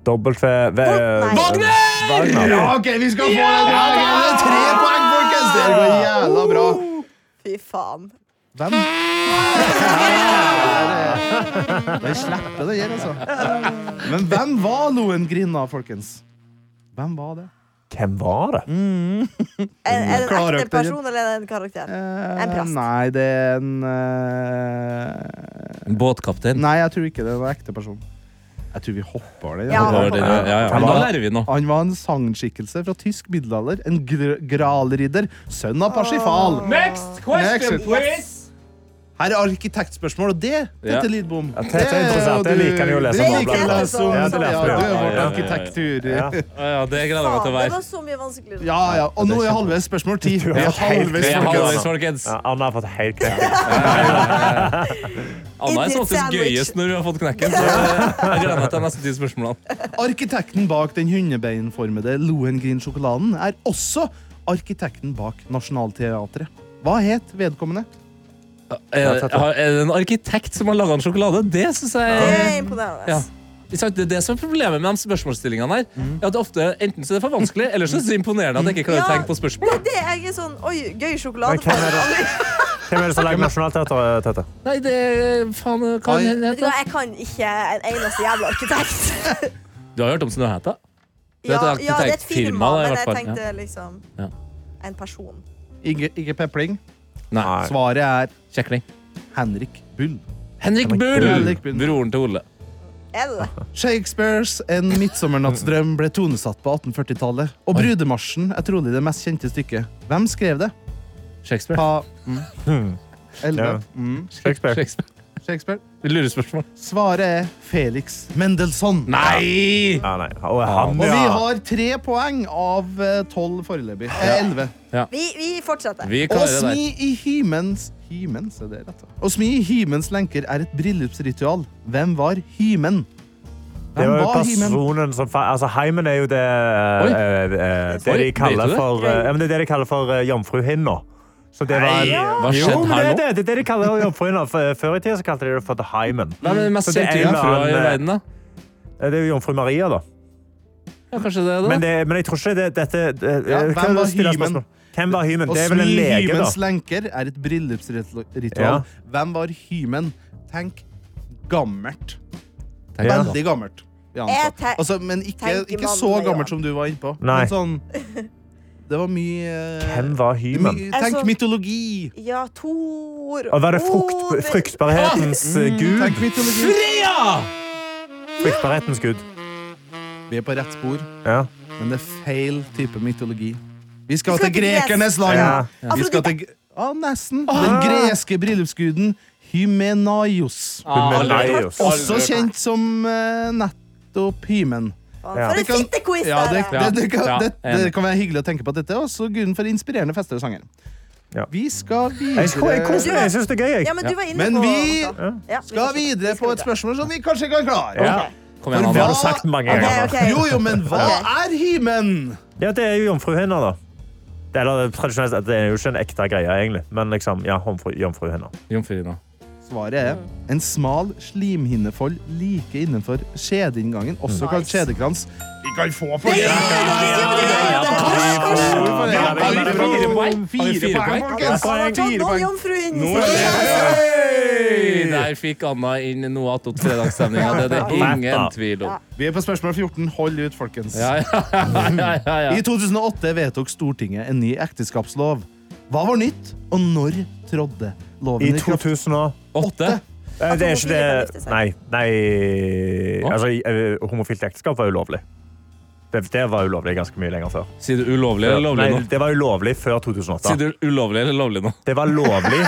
Speaker 5: W... v-
Speaker 4: Wagner!
Speaker 5: Wagner!
Speaker 3: Ja, OK, vi skal få den! Ja, det er tre poeng, folkens! Det går jævla bra.
Speaker 4: Fy faen.
Speaker 3: Hvem? Den slipper det her, altså. Men hvem var Lohengrin, da, folkens? Hvem var det?
Speaker 5: Hvem var
Speaker 2: Mm.
Speaker 5: det?
Speaker 4: Er, er det en
Speaker 3: Karakter.
Speaker 4: ekte person eller er det en karakter? En prast.
Speaker 3: Eh, Nei, det er en eh,
Speaker 2: En båtkaptein.
Speaker 3: Nei, jeg tror ikke det er en ekte person. Jeg tror vi hopper det.
Speaker 4: Ja.
Speaker 2: Det var det, ja, ja, ja. Men da lærer vi noe.
Speaker 3: Han var en sagnskikkelse fra tysk middelalder. En gr gralridder. Sønn av Parsifal.
Speaker 2: Next
Speaker 3: question, please. Her er arkitektspørsmål, og det
Speaker 2: Ja.
Speaker 3: Tete Lidbom.
Speaker 5: Ja, Tete er interessant. Jeg liker han jo å lese
Speaker 3: Det
Speaker 4: om
Speaker 3: liker jeg å
Speaker 4: Dagbladet.
Speaker 3: lese om.
Speaker 4: Ja,
Speaker 5: det
Speaker 3: sånn Ja, du
Speaker 5: leser jeg.
Speaker 3: er jo
Speaker 5: Ja,
Speaker 3: vårt
Speaker 5: ja, ja.
Speaker 3: arkitektur.
Speaker 5: Ja.
Speaker 2: Ja, ja, det gleder jeg meg
Speaker 4: Faen,
Speaker 2: til å
Speaker 4: det
Speaker 2: være.
Speaker 4: var så mye vanskeligere.
Speaker 3: Ja, ja. Og nå er halvveis spørsmål ti. Vi er
Speaker 5: helt
Speaker 3: halvveis,
Speaker 2: Vi er
Speaker 3: folkens.
Speaker 2: halvveis, folkens.
Speaker 5: Ja, Anna har fått helt knekt.
Speaker 2: Anna er som
Speaker 4: Idiot
Speaker 2: oftest
Speaker 4: sandwich.
Speaker 2: gøyest når hun har fått knekken. Så jeg gleder meg til de neste ti spørsmålene.
Speaker 3: Arkitekten bak den hundebeinformede Lohengrin-sjokoladen er også arkitekten bak Nationaltheatret. Hva het vedkommende?
Speaker 2: Er Eh, er det en arkitekt som har laga en sjokolade? Det syns jeg
Speaker 4: Det
Speaker 2: er
Speaker 4: er imponerende.
Speaker 2: Ja. Ikke sant? Det er det som er problemet med de spørsmålsstillingene her. Ja, at det ofte, enten så er det for vanskelig, eller så er det så imponerende at jeg ikke klarer å
Speaker 4: Ja.
Speaker 2: tenke på spørsmål.
Speaker 4: Det er jeg er sånn Oi, gøy
Speaker 5: Men
Speaker 4: sjokolade.
Speaker 5: hvem er det? Hvem er det som lager Nationaltheatret, Tete?
Speaker 2: Nei, det er- faen hva
Speaker 3: Oi.
Speaker 2: den
Speaker 4: Vet du hva,
Speaker 2: heter
Speaker 4: jeg kan ikke en eneste jævla arkitekt.
Speaker 2: Du har hørt om Snøhetta? Det er
Speaker 4: Ja,
Speaker 2: et
Speaker 4: ja, det er et
Speaker 2: arkitektfirma,
Speaker 4: firma,
Speaker 2: da, i
Speaker 4: men
Speaker 2: hvert
Speaker 4: jeg
Speaker 2: fall.
Speaker 4: tenkte liksom
Speaker 2: Ja.
Speaker 4: en person.
Speaker 3: Ikke, ikke Pepling.
Speaker 2: Nei.
Speaker 5: Nei.
Speaker 3: Svaret er
Speaker 2: Kjekling.
Speaker 3: Henrik Bull.
Speaker 2: Henrik Bull!
Speaker 3: Henrik Bull.
Speaker 2: Broren til Ole.
Speaker 4: Er det det?
Speaker 3: Shakespeares En midtsommernattsdrøm ble tonesatt på 1840-tallet. Og Brudemarsjen er trolig det mest kjente stykket. Hvem skrev det?
Speaker 2: Shakespeare.
Speaker 3: Pa... Mm. Elleve.
Speaker 5: Ja.
Speaker 3: Mm.
Speaker 5: Shakespeare.
Speaker 2: Shakespeare.
Speaker 3: Shakespeare.
Speaker 2: Lurespørsmål.
Speaker 3: Svaret er Felix Mendelssohn.
Speaker 2: Nei!
Speaker 5: Ja, nei. Å, han,
Speaker 3: Og vi
Speaker 5: ja.
Speaker 3: har tre poeng av eh, tolv foreløpig. Eh, Elleve.
Speaker 4: Vi, vi fortsetter.
Speaker 2: Vi
Speaker 3: Å
Speaker 2: klarer det der.
Speaker 3: smi i hymens Hymens, er det rett? da? Å smi i hymens lenker er et bryllupsritual. Hvem var hymen?
Speaker 5: Det
Speaker 3: Hvem
Speaker 5: var jo
Speaker 3: var hymen?
Speaker 5: personen som fa Altså, heimen er jo det
Speaker 2: Oi.
Speaker 5: eh, eh, Det
Speaker 2: Oi,
Speaker 5: de kaller
Speaker 2: vet du det?
Speaker 5: for eh, ja, men Det er det de kaller for eh, jomfruhinna. Så det var
Speaker 2: Hva
Speaker 5: Jo,
Speaker 2: skjedde
Speaker 5: men
Speaker 2: her
Speaker 5: det er
Speaker 2: nå?
Speaker 5: det. Det er det de kaller jomfruhinna. For- Før i tida så kalte de det for the heimen.
Speaker 2: Hvem er den mest
Speaker 5: Så det er
Speaker 2: kjente
Speaker 5: en
Speaker 2: jomfrua i
Speaker 5: eller annen,
Speaker 2: verden, da?
Speaker 5: Eh, Det er jo jomfru Maria, da.
Speaker 2: Ja, kanskje det, da?
Speaker 5: Men, det, men jeg tror ikke det, dette det,
Speaker 3: Ja, hvem
Speaker 5: eh, kan du
Speaker 3: var
Speaker 5: stille
Speaker 3: hymen?
Speaker 5: spørsmål? Hvem var hymen?
Speaker 3: Å
Speaker 5: Det er vel
Speaker 3: smi
Speaker 5: en
Speaker 3: i
Speaker 5: lege, da.
Speaker 3: hymens lenker er et bryllupsritual.
Speaker 5: Ja.
Speaker 3: Hvem var hymen? Tenk gammelt.
Speaker 2: Tenk
Speaker 5: Ja.
Speaker 2: deg da.
Speaker 3: Veldig gammelt. vil jeg
Speaker 4: Jeg
Speaker 3: anta.
Speaker 4: te-
Speaker 3: Altså, men ikke,
Speaker 4: tenker
Speaker 3: ikke
Speaker 4: man
Speaker 3: så
Speaker 4: med
Speaker 3: gammelt
Speaker 4: Johan.
Speaker 3: som du var innpå.
Speaker 5: Nei.
Speaker 3: Men sånn Det var mye eh,
Speaker 5: Hvem var hymen?
Speaker 3: mye-
Speaker 4: Altså-
Speaker 3: Tenk mytologi!
Speaker 4: Ja, Tor
Speaker 5: Og var det frukt,
Speaker 4: Odin.
Speaker 5: fruktbarhetens eh,
Speaker 3: Tenk
Speaker 5: gud?
Speaker 3: mytologi.
Speaker 5: Fruktbarhetens gud.
Speaker 3: Vi er på rett spor.
Speaker 5: Ja.
Speaker 3: Men det er feil type mytologi. Vi skal,
Speaker 4: Vi skal
Speaker 3: til Altså,
Speaker 4: til Gres-
Speaker 3: grekernes land!
Speaker 5: Ja.
Speaker 3: Vi skal til gre- Å, nesten. Den greske bryllupsguden Hymenaios.
Speaker 2: Ah,
Speaker 5: Hymenaios.
Speaker 3: Også kjent som eh, nettopp hymen.
Speaker 4: Faen,
Speaker 5: Ja.
Speaker 4: For
Speaker 3: Det
Speaker 4: en
Speaker 3: kan-
Speaker 4: fittequiz
Speaker 3: Ja, det,
Speaker 4: det er!
Speaker 3: det, det, kan,
Speaker 2: Ja,
Speaker 3: det, det
Speaker 2: enig.
Speaker 3: kan være hyggelig å tenke på at dette er også grunnen for inspirerende fester og sanger.
Speaker 5: Ja.
Speaker 3: Vi skal
Speaker 5: Jeg sko- jeg
Speaker 3: videre
Speaker 5: koser meg. Jeg syns det er gøy. Jeg.
Speaker 4: Ja, men du var inne
Speaker 3: Men
Speaker 4: på
Speaker 3: vi
Speaker 4: noe. Ja,
Speaker 3: skal videre på et spørsmål som vi kanskje ikke har klart.
Speaker 5: Ja.
Speaker 2: Kom igjen,
Speaker 3: hva-
Speaker 5: Det har
Speaker 2: Anna.
Speaker 5: du sagt mange
Speaker 4: Ok,
Speaker 5: ganger.
Speaker 4: ok.
Speaker 3: Jo, jo, men hva er hymen?
Speaker 5: Ja, det er jo jomfruhinna, da. Det er, eller, tradisjonelt, sett, det er jo ikke en ekte greie, egentlig. Men liksom, ja, jomfru, jomfruhinna.
Speaker 2: Jomfruhinna.
Speaker 3: Svaret er en smal slimhinnefold like innenfor skjedeinngangen, også kalt
Speaker 4: Nice.
Speaker 3: skjedekrans. Vi kan få på det!
Speaker 2: Fire poeng. Har vi fire poeng?
Speaker 4: Nå jomfruhinne
Speaker 2: Hey! Der fikk Anna inn noe attåt fredagsstemninga. Det er det ingen tvil om.
Speaker 3: Vi er på spørsmål 14. Hold ut, folkens.
Speaker 2: Ja, ja, ja, ja, ja.
Speaker 3: I 2008 vedtok Stortinget en ny ekteskapslov. Hva var nytt, og når trådte
Speaker 5: I
Speaker 3: loven i kraft?
Speaker 5: 2000 og
Speaker 2: Åtte.
Speaker 5: Eh, Det er
Speaker 4: homofile kan gifte
Speaker 5: ikke det
Speaker 4: seg.
Speaker 5: Nei. nei altså, i- eh, homofilt ekteskap var ulovlig. Det, det var ulovlig ganske mye lenger før.
Speaker 2: Sier du ulovlig eller lovlig
Speaker 5: Nei,
Speaker 2: nå?
Speaker 5: det var ulovlig før
Speaker 2: Sier
Speaker 5: 2008.
Speaker 2: du ulovlig eller lovlig nå?
Speaker 5: Det var lovlig.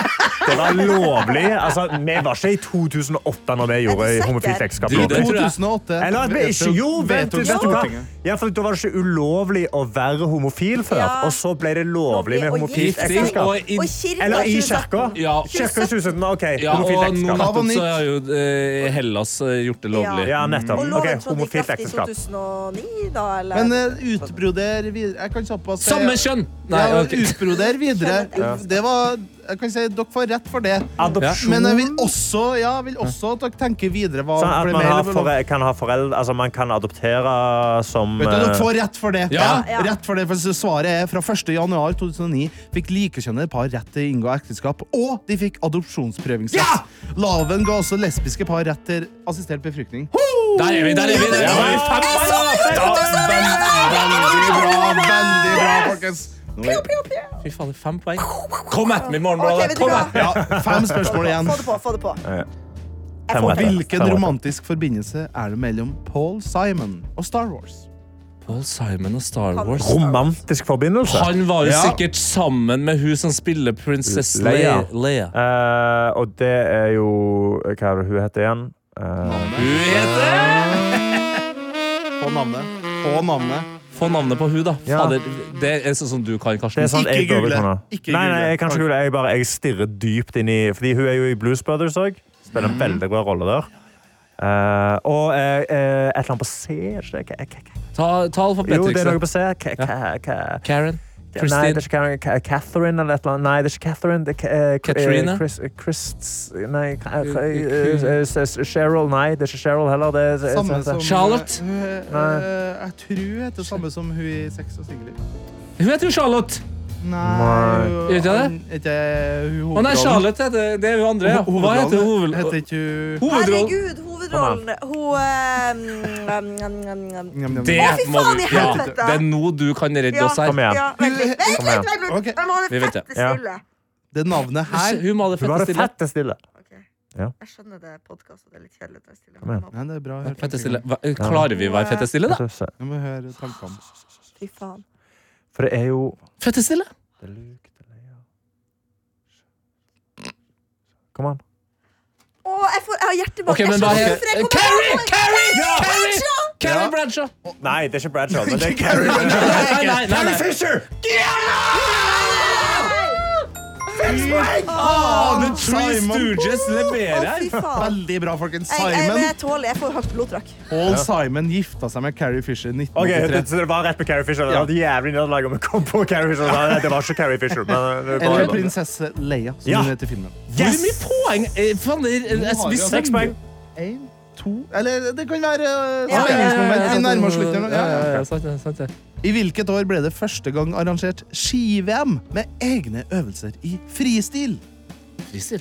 Speaker 5: Det var lovlig. Altså, vi var ikke i 2008 når vi
Speaker 4: Er
Speaker 5: gjorde
Speaker 4: du
Speaker 5: homofilt
Speaker 4: sikker?
Speaker 5: ekteskap.
Speaker 2: Du, det-
Speaker 5: lovlig.
Speaker 3: 2008
Speaker 5: Eller at vi ikke Jo, vet du, vet du hva? Ja, for da var det ikke ulovlig å være homofil før,
Speaker 4: Ja.
Speaker 5: og så ble det lovlig med
Speaker 4: Og
Speaker 5: homofilt
Speaker 4: gifte seg.
Speaker 5: ekteskap.
Speaker 2: Og i-
Speaker 4: Og kirka
Speaker 5: Eller i
Speaker 4: 2017.
Speaker 5: kirka.
Speaker 2: Ja.
Speaker 5: Kirka i 2017, OK.
Speaker 2: Ja,
Speaker 5: Homofilt
Speaker 2: og nå
Speaker 5: ekteskap.
Speaker 3: Hva
Speaker 2: nettopp
Speaker 3: var nytt?
Speaker 2: så har jo eh, Hellas eh, gjort det lovlig.
Speaker 5: Ja, nettopp.
Speaker 4: Og
Speaker 5: OK,
Speaker 4: loven trådte i
Speaker 5: homofilt
Speaker 4: kraft i
Speaker 5: ekteskap.
Speaker 4: 2009, da, eller
Speaker 3: Men eh, utbroder videre. Jeg kan såpass si-
Speaker 2: Samme kjønn! Nei,
Speaker 3: ja,
Speaker 2: ok.
Speaker 3: Utbroder videre.
Speaker 4: Ja.
Speaker 3: Det var Jeg kan si dere får rett for det.
Speaker 5: Adopsjon.
Speaker 3: Men jeg vil også ja, jeg vil også at dere tenker videre. Hva
Speaker 5: Sånn at
Speaker 3: ble
Speaker 5: man,
Speaker 3: mer
Speaker 5: har
Speaker 3: eller-
Speaker 5: fore, kan ha foreldre, altså man kan adoptere som
Speaker 3: Vet du, Dere
Speaker 5: eh,
Speaker 3: får rett for det.
Speaker 2: Ja.
Speaker 4: Ja.
Speaker 3: Rett for det, for Svaret er fra 1.1.2009 fikk likekjønnede par rett til å inngå ekteskap, og de fikk adopsjonsprøvingsrett. Loven ga også lesbiske par rett til assistert befruktning.
Speaker 2: Der er vi, der er vi! Der er vi.
Speaker 5: Faen, faen, faen, faen, faen.
Speaker 3: Veldig bra, veldig bra, folkens. Nå er,
Speaker 2: Fy faen, det er fem poeng. Kom at meg,
Speaker 4: Ok,
Speaker 2: Morgenbladet!
Speaker 4: vet du
Speaker 2: Kom
Speaker 4: hva?
Speaker 2: at meg.
Speaker 3: ja, fem spørsmål igjen.
Speaker 4: Få det på, få det på.
Speaker 5: Fem
Speaker 4: får
Speaker 5: retter. Fem
Speaker 3: Hvilken
Speaker 5: retter.
Speaker 3: romantisk forbindelse er det mellom Paul Simon og Star Wars?
Speaker 2: Paul Simon og Star Wars.
Speaker 5: Romantisk forbindelse.
Speaker 2: Han var jo
Speaker 3: Ja.
Speaker 2: sikkert sammen med hun som spiller prinsesse Leia.
Speaker 5: Leia.
Speaker 2: Leia.
Speaker 5: Eh, og det er jo Hva er det hun heter igjen? Eh,
Speaker 2: Hun heter
Speaker 3: På navnet. På navnet.
Speaker 2: Få navnet på hun, da.
Speaker 5: Ja.
Speaker 2: Fader, det er sånn som du kan, Karsten.
Speaker 5: det er sånn
Speaker 3: Ikke
Speaker 5: jeg
Speaker 3: google.
Speaker 5: burde kunne.
Speaker 3: Ikke
Speaker 5: Nei, nei,
Speaker 3: google.
Speaker 5: jeg kan ikke google. Jeg bare jeg stirrer dypt inn i Fordi hun er jo i Blues Brothers òg. Spiller en veldig bra rolle der. Eh, og eh, eh, et eller annet på C? er ikke det? Hva- hva- hva-
Speaker 2: Ta, ta
Speaker 5: Jo, det er noe
Speaker 2: alfabetrikset.
Speaker 5: på C. Hva- hva- hva-
Speaker 2: Karen.
Speaker 5: Nei, det
Speaker 2: Christine.
Speaker 5: er ikke Karen- Ka- Catherine eller et eller annet. Nei, det er ikke Catherine. Det er eh, K- eh,
Speaker 2: Katrina?
Speaker 5: Chris, eh, Christ- nei, Ka- eh, eh, eh, eh, Cheryl. Nei, det er ikke Cheryl heller. Det er,
Speaker 3: Samme som
Speaker 2: Charlotte?
Speaker 3: Eh, eh, jeg tror hun heter samme som hun i Sex og Sigrid.
Speaker 2: Hun heter jo Charlotte!
Speaker 3: Nei, hun-
Speaker 2: Gjør ikke det?
Speaker 3: han- ikke hun
Speaker 2: Å nei,
Speaker 3: hovedrollen.
Speaker 2: Charlotte heter det er hun andre. Ja.
Speaker 3: Ho-
Speaker 2: Hva heter hoved...
Speaker 3: hovedrollen. Heter ikke hun
Speaker 2: hovedrollen?
Speaker 4: Herregud, hovedrollen Hun eh, mm, mm, mm, mm, mm.
Speaker 3: Njam, njam,
Speaker 2: Det
Speaker 3: njam.
Speaker 4: fy
Speaker 2: må
Speaker 4: faen
Speaker 2: vi
Speaker 4: i
Speaker 2: ja,
Speaker 4: helvete!
Speaker 2: Det er nå du kan redde
Speaker 4: Ja,
Speaker 2: oss her.
Speaker 5: Kom igjen.
Speaker 4: ja, Vent litt, vent
Speaker 5: Kom
Speaker 4: litt!
Speaker 5: igjen.
Speaker 4: vent litt.
Speaker 3: Ok.
Speaker 4: Jeg må
Speaker 2: Vi
Speaker 4: ha det
Speaker 2: venter.
Speaker 4: fette
Speaker 5: Ja.
Speaker 4: stille.
Speaker 3: Det navnet her
Speaker 2: Hun må ha det
Speaker 5: Hun var
Speaker 2: fette
Speaker 5: det
Speaker 2: stille.
Speaker 5: fette stille.
Speaker 4: Jeg skjønner det er podkast, og det er litt kjedelig når jeg stiller
Speaker 5: Kom igjen.
Speaker 4: meg opp.
Speaker 3: Nei, det er bra. hørt.
Speaker 2: Fette stille. Hva- Klarer vi å være fette stille, da?
Speaker 3: Nå må jeg høre tankene.
Speaker 4: Fy faen.
Speaker 5: For det er jo
Speaker 2: Fette stille.
Speaker 5: Det er Luke, det er Leia. Kom an.
Speaker 4: Å, jeg, får, jeg har hjertebank.
Speaker 2: Ok, men
Speaker 4: jeg
Speaker 2: hva
Speaker 4: skjønner
Speaker 2: heter
Speaker 4: hvorfor jeg kommer
Speaker 2: Carrie!
Speaker 4: på det.
Speaker 2: Carrie! Carrie! Carrie
Speaker 5: Ja.
Speaker 2: Bradshaw!
Speaker 5: Nei, det er ikke Bradshaw. Men det er Carrie,
Speaker 2: Nei, nei, nei, nei.
Speaker 5: Fisher!
Speaker 2: Ah, The Three
Speaker 3: Simon.
Speaker 2: Stooges leverer
Speaker 4: Å, fy
Speaker 2: her.
Speaker 4: faen.
Speaker 3: Veldig bra, folkens.
Speaker 4: Jeg, jeg, men
Speaker 3: Simon,
Speaker 4: jeg tåler Jeg får høyt blodtrykk.
Speaker 3: Paul Simon gifta seg med Carrie Fisher i
Speaker 5: Ok,
Speaker 3: 1983.
Speaker 5: det, så det var rett på Carrie Fisher. Det var et jævlig nederlag om vi kom på Carrie Fisher. Nei, det var ikke Carrie Fisher. Men det var
Speaker 3: Eller prinsesse Leia, som
Speaker 5: Ja.
Speaker 3: hun heter i filmen.
Speaker 2: Hvor
Speaker 5: Yes!
Speaker 2: mye poeng eh, Faen, det er- jeg
Speaker 3: har vi
Speaker 2: spiser
Speaker 5: Seks poeng.
Speaker 3: En, to Eller det kan være eh,
Speaker 4: Ja, ja, ja, ja,
Speaker 3: spenningsmoment. Vi nærmer oss slutten. Ja, ja.
Speaker 2: sant det, sant det.
Speaker 3: I hvilket år ble det første gang arrangert ski-VM med egne øvelser i fristil?
Speaker 2: Fristil?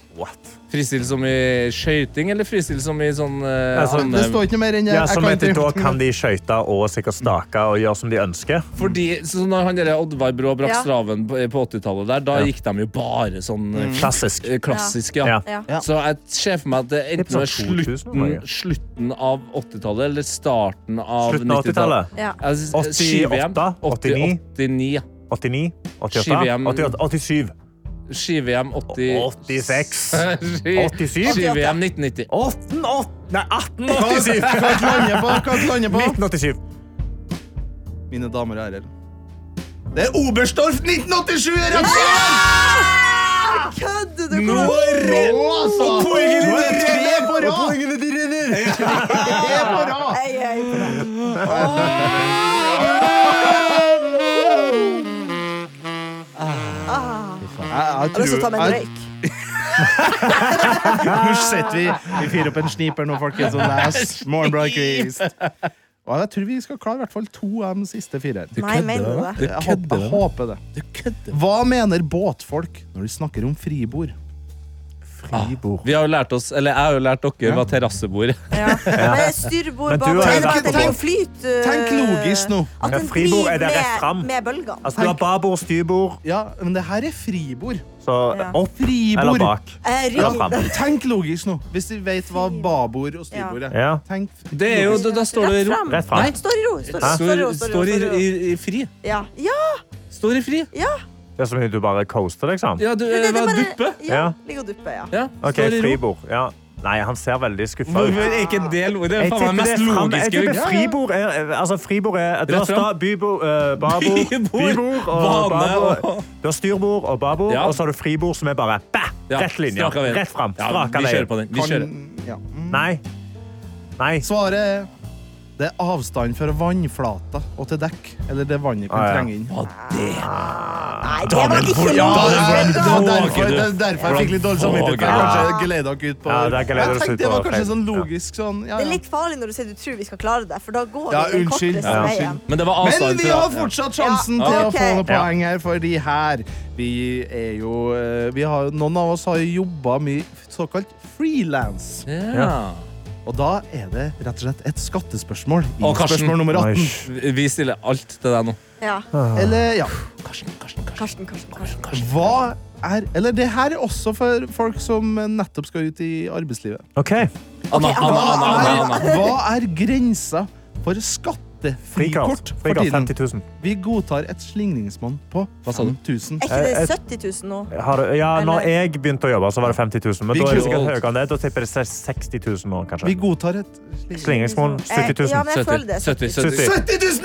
Speaker 2: Fristil som i skøyting, eller fristil som i sånn eh,
Speaker 5: Altså,
Speaker 2: annen-
Speaker 3: Det står ikke noe mer enn
Speaker 5: Ja, som
Speaker 3: kan
Speaker 5: etter da
Speaker 3: ikke-
Speaker 5: kan de skøyte og sikkert stake og gjøre som de ønsker.
Speaker 2: Fordi så når han der Oddvar Brå brakk
Speaker 4: Ja.
Speaker 2: straven på, på 80-tallet, der, da
Speaker 5: Ja.
Speaker 2: gikk de jo bare sånn eh,
Speaker 5: Klassisk.
Speaker 2: eh, klassisk, ja.
Speaker 5: Ja.
Speaker 4: Ja.
Speaker 3: Ja.
Speaker 2: Så jeg ser for meg at det enten er
Speaker 5: Tipper sånn 2000
Speaker 2: slutten,
Speaker 5: var det.
Speaker 2: slutten av 80-tallet eller starten av
Speaker 5: Slutten av
Speaker 2: 90-tallet.
Speaker 5: 80-tallet.
Speaker 4: Ja.
Speaker 2: Jeg synes-
Speaker 5: 88,
Speaker 2: Ski-VM.
Speaker 5: 89.
Speaker 2: 89, ja.
Speaker 5: 89, 88,
Speaker 2: Ski-VM.
Speaker 5: 88, 87,
Speaker 2: Ski-VM 80...
Speaker 5: 86,
Speaker 2: 87?
Speaker 5: 87
Speaker 2: Ski-VM 1990.
Speaker 5: 18, åt- Nei, 1887!
Speaker 3: Hva kan lande på? Hva kan lande på?
Speaker 5: 1987.
Speaker 3: Mine damer og herrer. Det er Oberstdorf 1987! er rett svar!
Speaker 4: Kødder du?
Speaker 2: Nå
Speaker 3: Rå, altså!
Speaker 5: poengene
Speaker 3: Nå er det tre på rad! Tre på rad!
Speaker 4: Jeg, jeg,
Speaker 3: Jeg
Speaker 4: har lyst til å ta meg en
Speaker 3: jeg-
Speaker 4: røyk.
Speaker 3: Nå setter vi Vi fyrer opp en sniper nå, folkens, Sånn og leser Morgenbladkvist. Og jeg tror vi skal klare i hvert fall to av de siste fire. her.
Speaker 4: Nei, mener du det?
Speaker 2: Du
Speaker 3: Jeg håper, jeg
Speaker 2: kødder.
Speaker 3: håper det. Hva mener båtfolk når de snakker om fribord?
Speaker 5: Fribord.
Speaker 2: Vi har jo lært oss, eller jeg har jo lært dere hva terrassebord er.
Speaker 4: Ja. Men styrbord
Speaker 5: Men du
Speaker 4: bak
Speaker 5: har jo
Speaker 4: Tenk,
Speaker 5: vært på-
Speaker 4: tenk, flyt, uh,
Speaker 3: Tenk logisk nå.
Speaker 4: At
Speaker 5: Ja,
Speaker 4: den
Speaker 5: fribord, er
Speaker 4: flyr
Speaker 5: det rett
Speaker 4: med,
Speaker 5: fram?
Speaker 4: med bølgene.
Speaker 5: Altså, du har babord, styrbord,
Speaker 3: Ja, men det her er fribord.
Speaker 5: så
Speaker 4: Ja.
Speaker 5: opp eller
Speaker 3: Fribord.
Speaker 5: bak.
Speaker 4: Eh,
Speaker 5: Eller
Speaker 4: ring-
Speaker 5: fram.
Speaker 3: Tenk logisk nå, hvis du vet hva babord og styrbord er.
Speaker 5: Ja.
Speaker 3: Tenk f-
Speaker 2: Det er jo, da, da står det i
Speaker 4: Rett
Speaker 2: ro.
Speaker 4: fram.
Speaker 5: Rett fram.
Speaker 2: Nei.
Speaker 4: Står i ro. Står, i ro,
Speaker 2: Står,
Speaker 4: står, i ro, står, i ro,
Speaker 2: står i,
Speaker 4: står
Speaker 2: i,
Speaker 4: i ro.
Speaker 2: i fri.
Speaker 4: Ja. ja,
Speaker 2: Står i fri.
Speaker 4: ja.
Speaker 5: Det er som om du bare coaster, liksom.
Speaker 2: Ja, du
Speaker 4: Det- det- det
Speaker 2: var
Speaker 4: bare-
Speaker 2: duppe.
Speaker 4: Ja.
Speaker 5: Ja.
Speaker 4: Ligger og duppe, ja.
Speaker 2: Ja,
Speaker 5: OK,
Speaker 2: står i ro.
Speaker 5: fribord. Ja. Nei, han ser veldig skuffa ut.
Speaker 2: Hvorfor er ikke det ordet? Det er
Speaker 5: Jeg
Speaker 2: faen meg
Speaker 5: tipper det
Speaker 2: mest
Speaker 5: er fram- jeg
Speaker 2: logiske.
Speaker 5: tipper fribord er Altså, fribord er Du har
Speaker 2: Rett fram.
Speaker 5: sta, bybord, eh, babord,
Speaker 2: Bybord,
Speaker 5: bybord og
Speaker 2: bane
Speaker 5: babord.
Speaker 2: og-
Speaker 5: Du har styrbord og babord,
Speaker 2: Ja.
Speaker 5: og så har du fribord som er bare bah,
Speaker 2: Ja,
Speaker 5: rett linje.
Speaker 2: straka veien.
Speaker 5: Rett fram.
Speaker 2: Ja,
Speaker 5: Straka
Speaker 2: vi kjører på
Speaker 5: veien.
Speaker 2: den. Vi kjører.
Speaker 3: ja.
Speaker 5: Nei. Nei.
Speaker 3: Svaret Mm. er Det er avstand fra vannflata og til dekk. Eller det vannet kan
Speaker 5: Ah, ja. Ah,
Speaker 3: trenge inn.
Speaker 2: Og det
Speaker 4: Nei, det var ikke
Speaker 2: Ja,
Speaker 3: Ja, det
Speaker 4: lov!
Speaker 3: var, det var
Speaker 2: Våger
Speaker 3: derfor,
Speaker 2: du?
Speaker 3: det var derfor jeg fikk litt dårlig samvittighet. for
Speaker 5: Våger du?
Speaker 3: Kanskje gled dere ut på
Speaker 5: Ja, det er gled
Speaker 3: Jeg
Speaker 5: oss ut
Speaker 3: tenkte det var
Speaker 5: på
Speaker 3: kanskje
Speaker 5: feil.
Speaker 3: sånn logisk sånn ja,
Speaker 4: Det er
Speaker 3: ja.
Speaker 4: litt farlig når du sier du tror vi skal klare det, for da går
Speaker 3: Ja,
Speaker 4: vi den
Speaker 3: unnskyld.
Speaker 4: korteste
Speaker 3: Ja,
Speaker 4: veien.
Speaker 2: Men Altså, det var
Speaker 3: Men
Speaker 2: avstand
Speaker 3: vi
Speaker 2: til-
Speaker 3: har fortsatt sjansen
Speaker 4: Ja.
Speaker 3: til å
Speaker 4: Ok.
Speaker 3: få noen poeng her, fordi her Vi er jo eh, vi har, Noen av oss har jo jobba mye såkalt frilans.
Speaker 2: ja.
Speaker 3: Og da er det rett og slett et skattespørsmål. I
Speaker 2: Å, Karsten.
Speaker 3: spørsmål nummer 18.
Speaker 5: Oi.
Speaker 2: Vi vi stiller alt til deg nå.
Speaker 4: Ja.
Speaker 3: Eller, ja.
Speaker 2: Karsten, Karsten, Karsten.
Speaker 4: Karsten, Karsten, Karsten.
Speaker 3: Hva er Eller det her er også for folk som nettopp skal ut i arbeidslivet.
Speaker 5: OK.
Speaker 2: Anna, Anna, Anna,
Speaker 3: Hva
Speaker 2: Anna, Anna.
Speaker 3: er, hva er grensa for skattefrikort
Speaker 5: Frikort.
Speaker 3: for
Speaker 5: Frikort
Speaker 3: tiden?
Speaker 5: 50 000.
Speaker 3: Vi godtar et slingringsmonn på
Speaker 2: Hva sa du?
Speaker 3: 5000.
Speaker 4: Er ikke det
Speaker 5: Eh,
Speaker 4: 70 000 nå?
Speaker 5: Har du, ja, når
Speaker 4: Eller-
Speaker 5: jeg begynte å jobbe, så var det 50 000. Men
Speaker 3: Vi
Speaker 5: da er det
Speaker 3: kunne-
Speaker 5: sikkert høyere enn det. Da tipper jeg det er 60 000 nå,
Speaker 3: Vi
Speaker 5: kanskje.
Speaker 3: godtar et slingringsmonn.
Speaker 5: Slingringsmonn 70
Speaker 4: Eh, Ja,
Speaker 5: 000.
Speaker 4: men jeg føler det.
Speaker 2: 70, 70.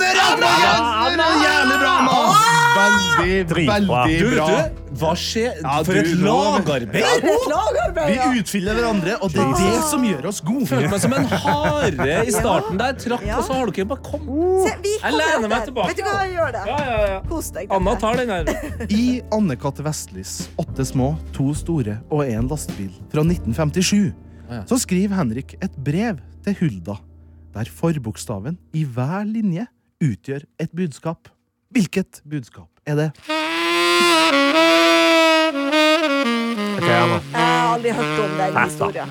Speaker 3: 70 000
Speaker 5: 70 000.
Speaker 3: er rett, Magnus! Det er Jævlig bra, Magnus! Veldig,
Speaker 5: Dritbra.
Speaker 2: Du,
Speaker 3: veldig bra.
Speaker 2: du, hva skjer?
Speaker 3: Ja,
Speaker 2: For
Speaker 3: du
Speaker 2: et
Speaker 3: lov.
Speaker 2: lagarbeid!
Speaker 4: Lagarbeid, ja.
Speaker 3: Vi utfyller hverandre, og det er det som gjør oss
Speaker 2: Følte
Speaker 3: gode.
Speaker 2: meg som en hare i starten der. Trakk,
Speaker 4: Ja.
Speaker 2: og så har du ikke bare kommet.
Speaker 4: Se, vi kommer
Speaker 2: lener meg
Speaker 4: etter.
Speaker 2: tilbake.
Speaker 4: Vet du hva, gjør det.
Speaker 2: Ja, ja, ja.
Speaker 4: Kos deg.
Speaker 2: Anna
Speaker 4: Tete.
Speaker 2: tar den her.
Speaker 3: I Anne-Cath. Vestlys 'Åtte små, to store og én lastebil' fra 1957 så skriver Henrik et brev til Hulda, der forbokstaven i hver linje utgjør et budskap. Hvilket budskap er det?
Speaker 5: Ok, Anna.
Speaker 4: Jeg har aldri hørt om den historien.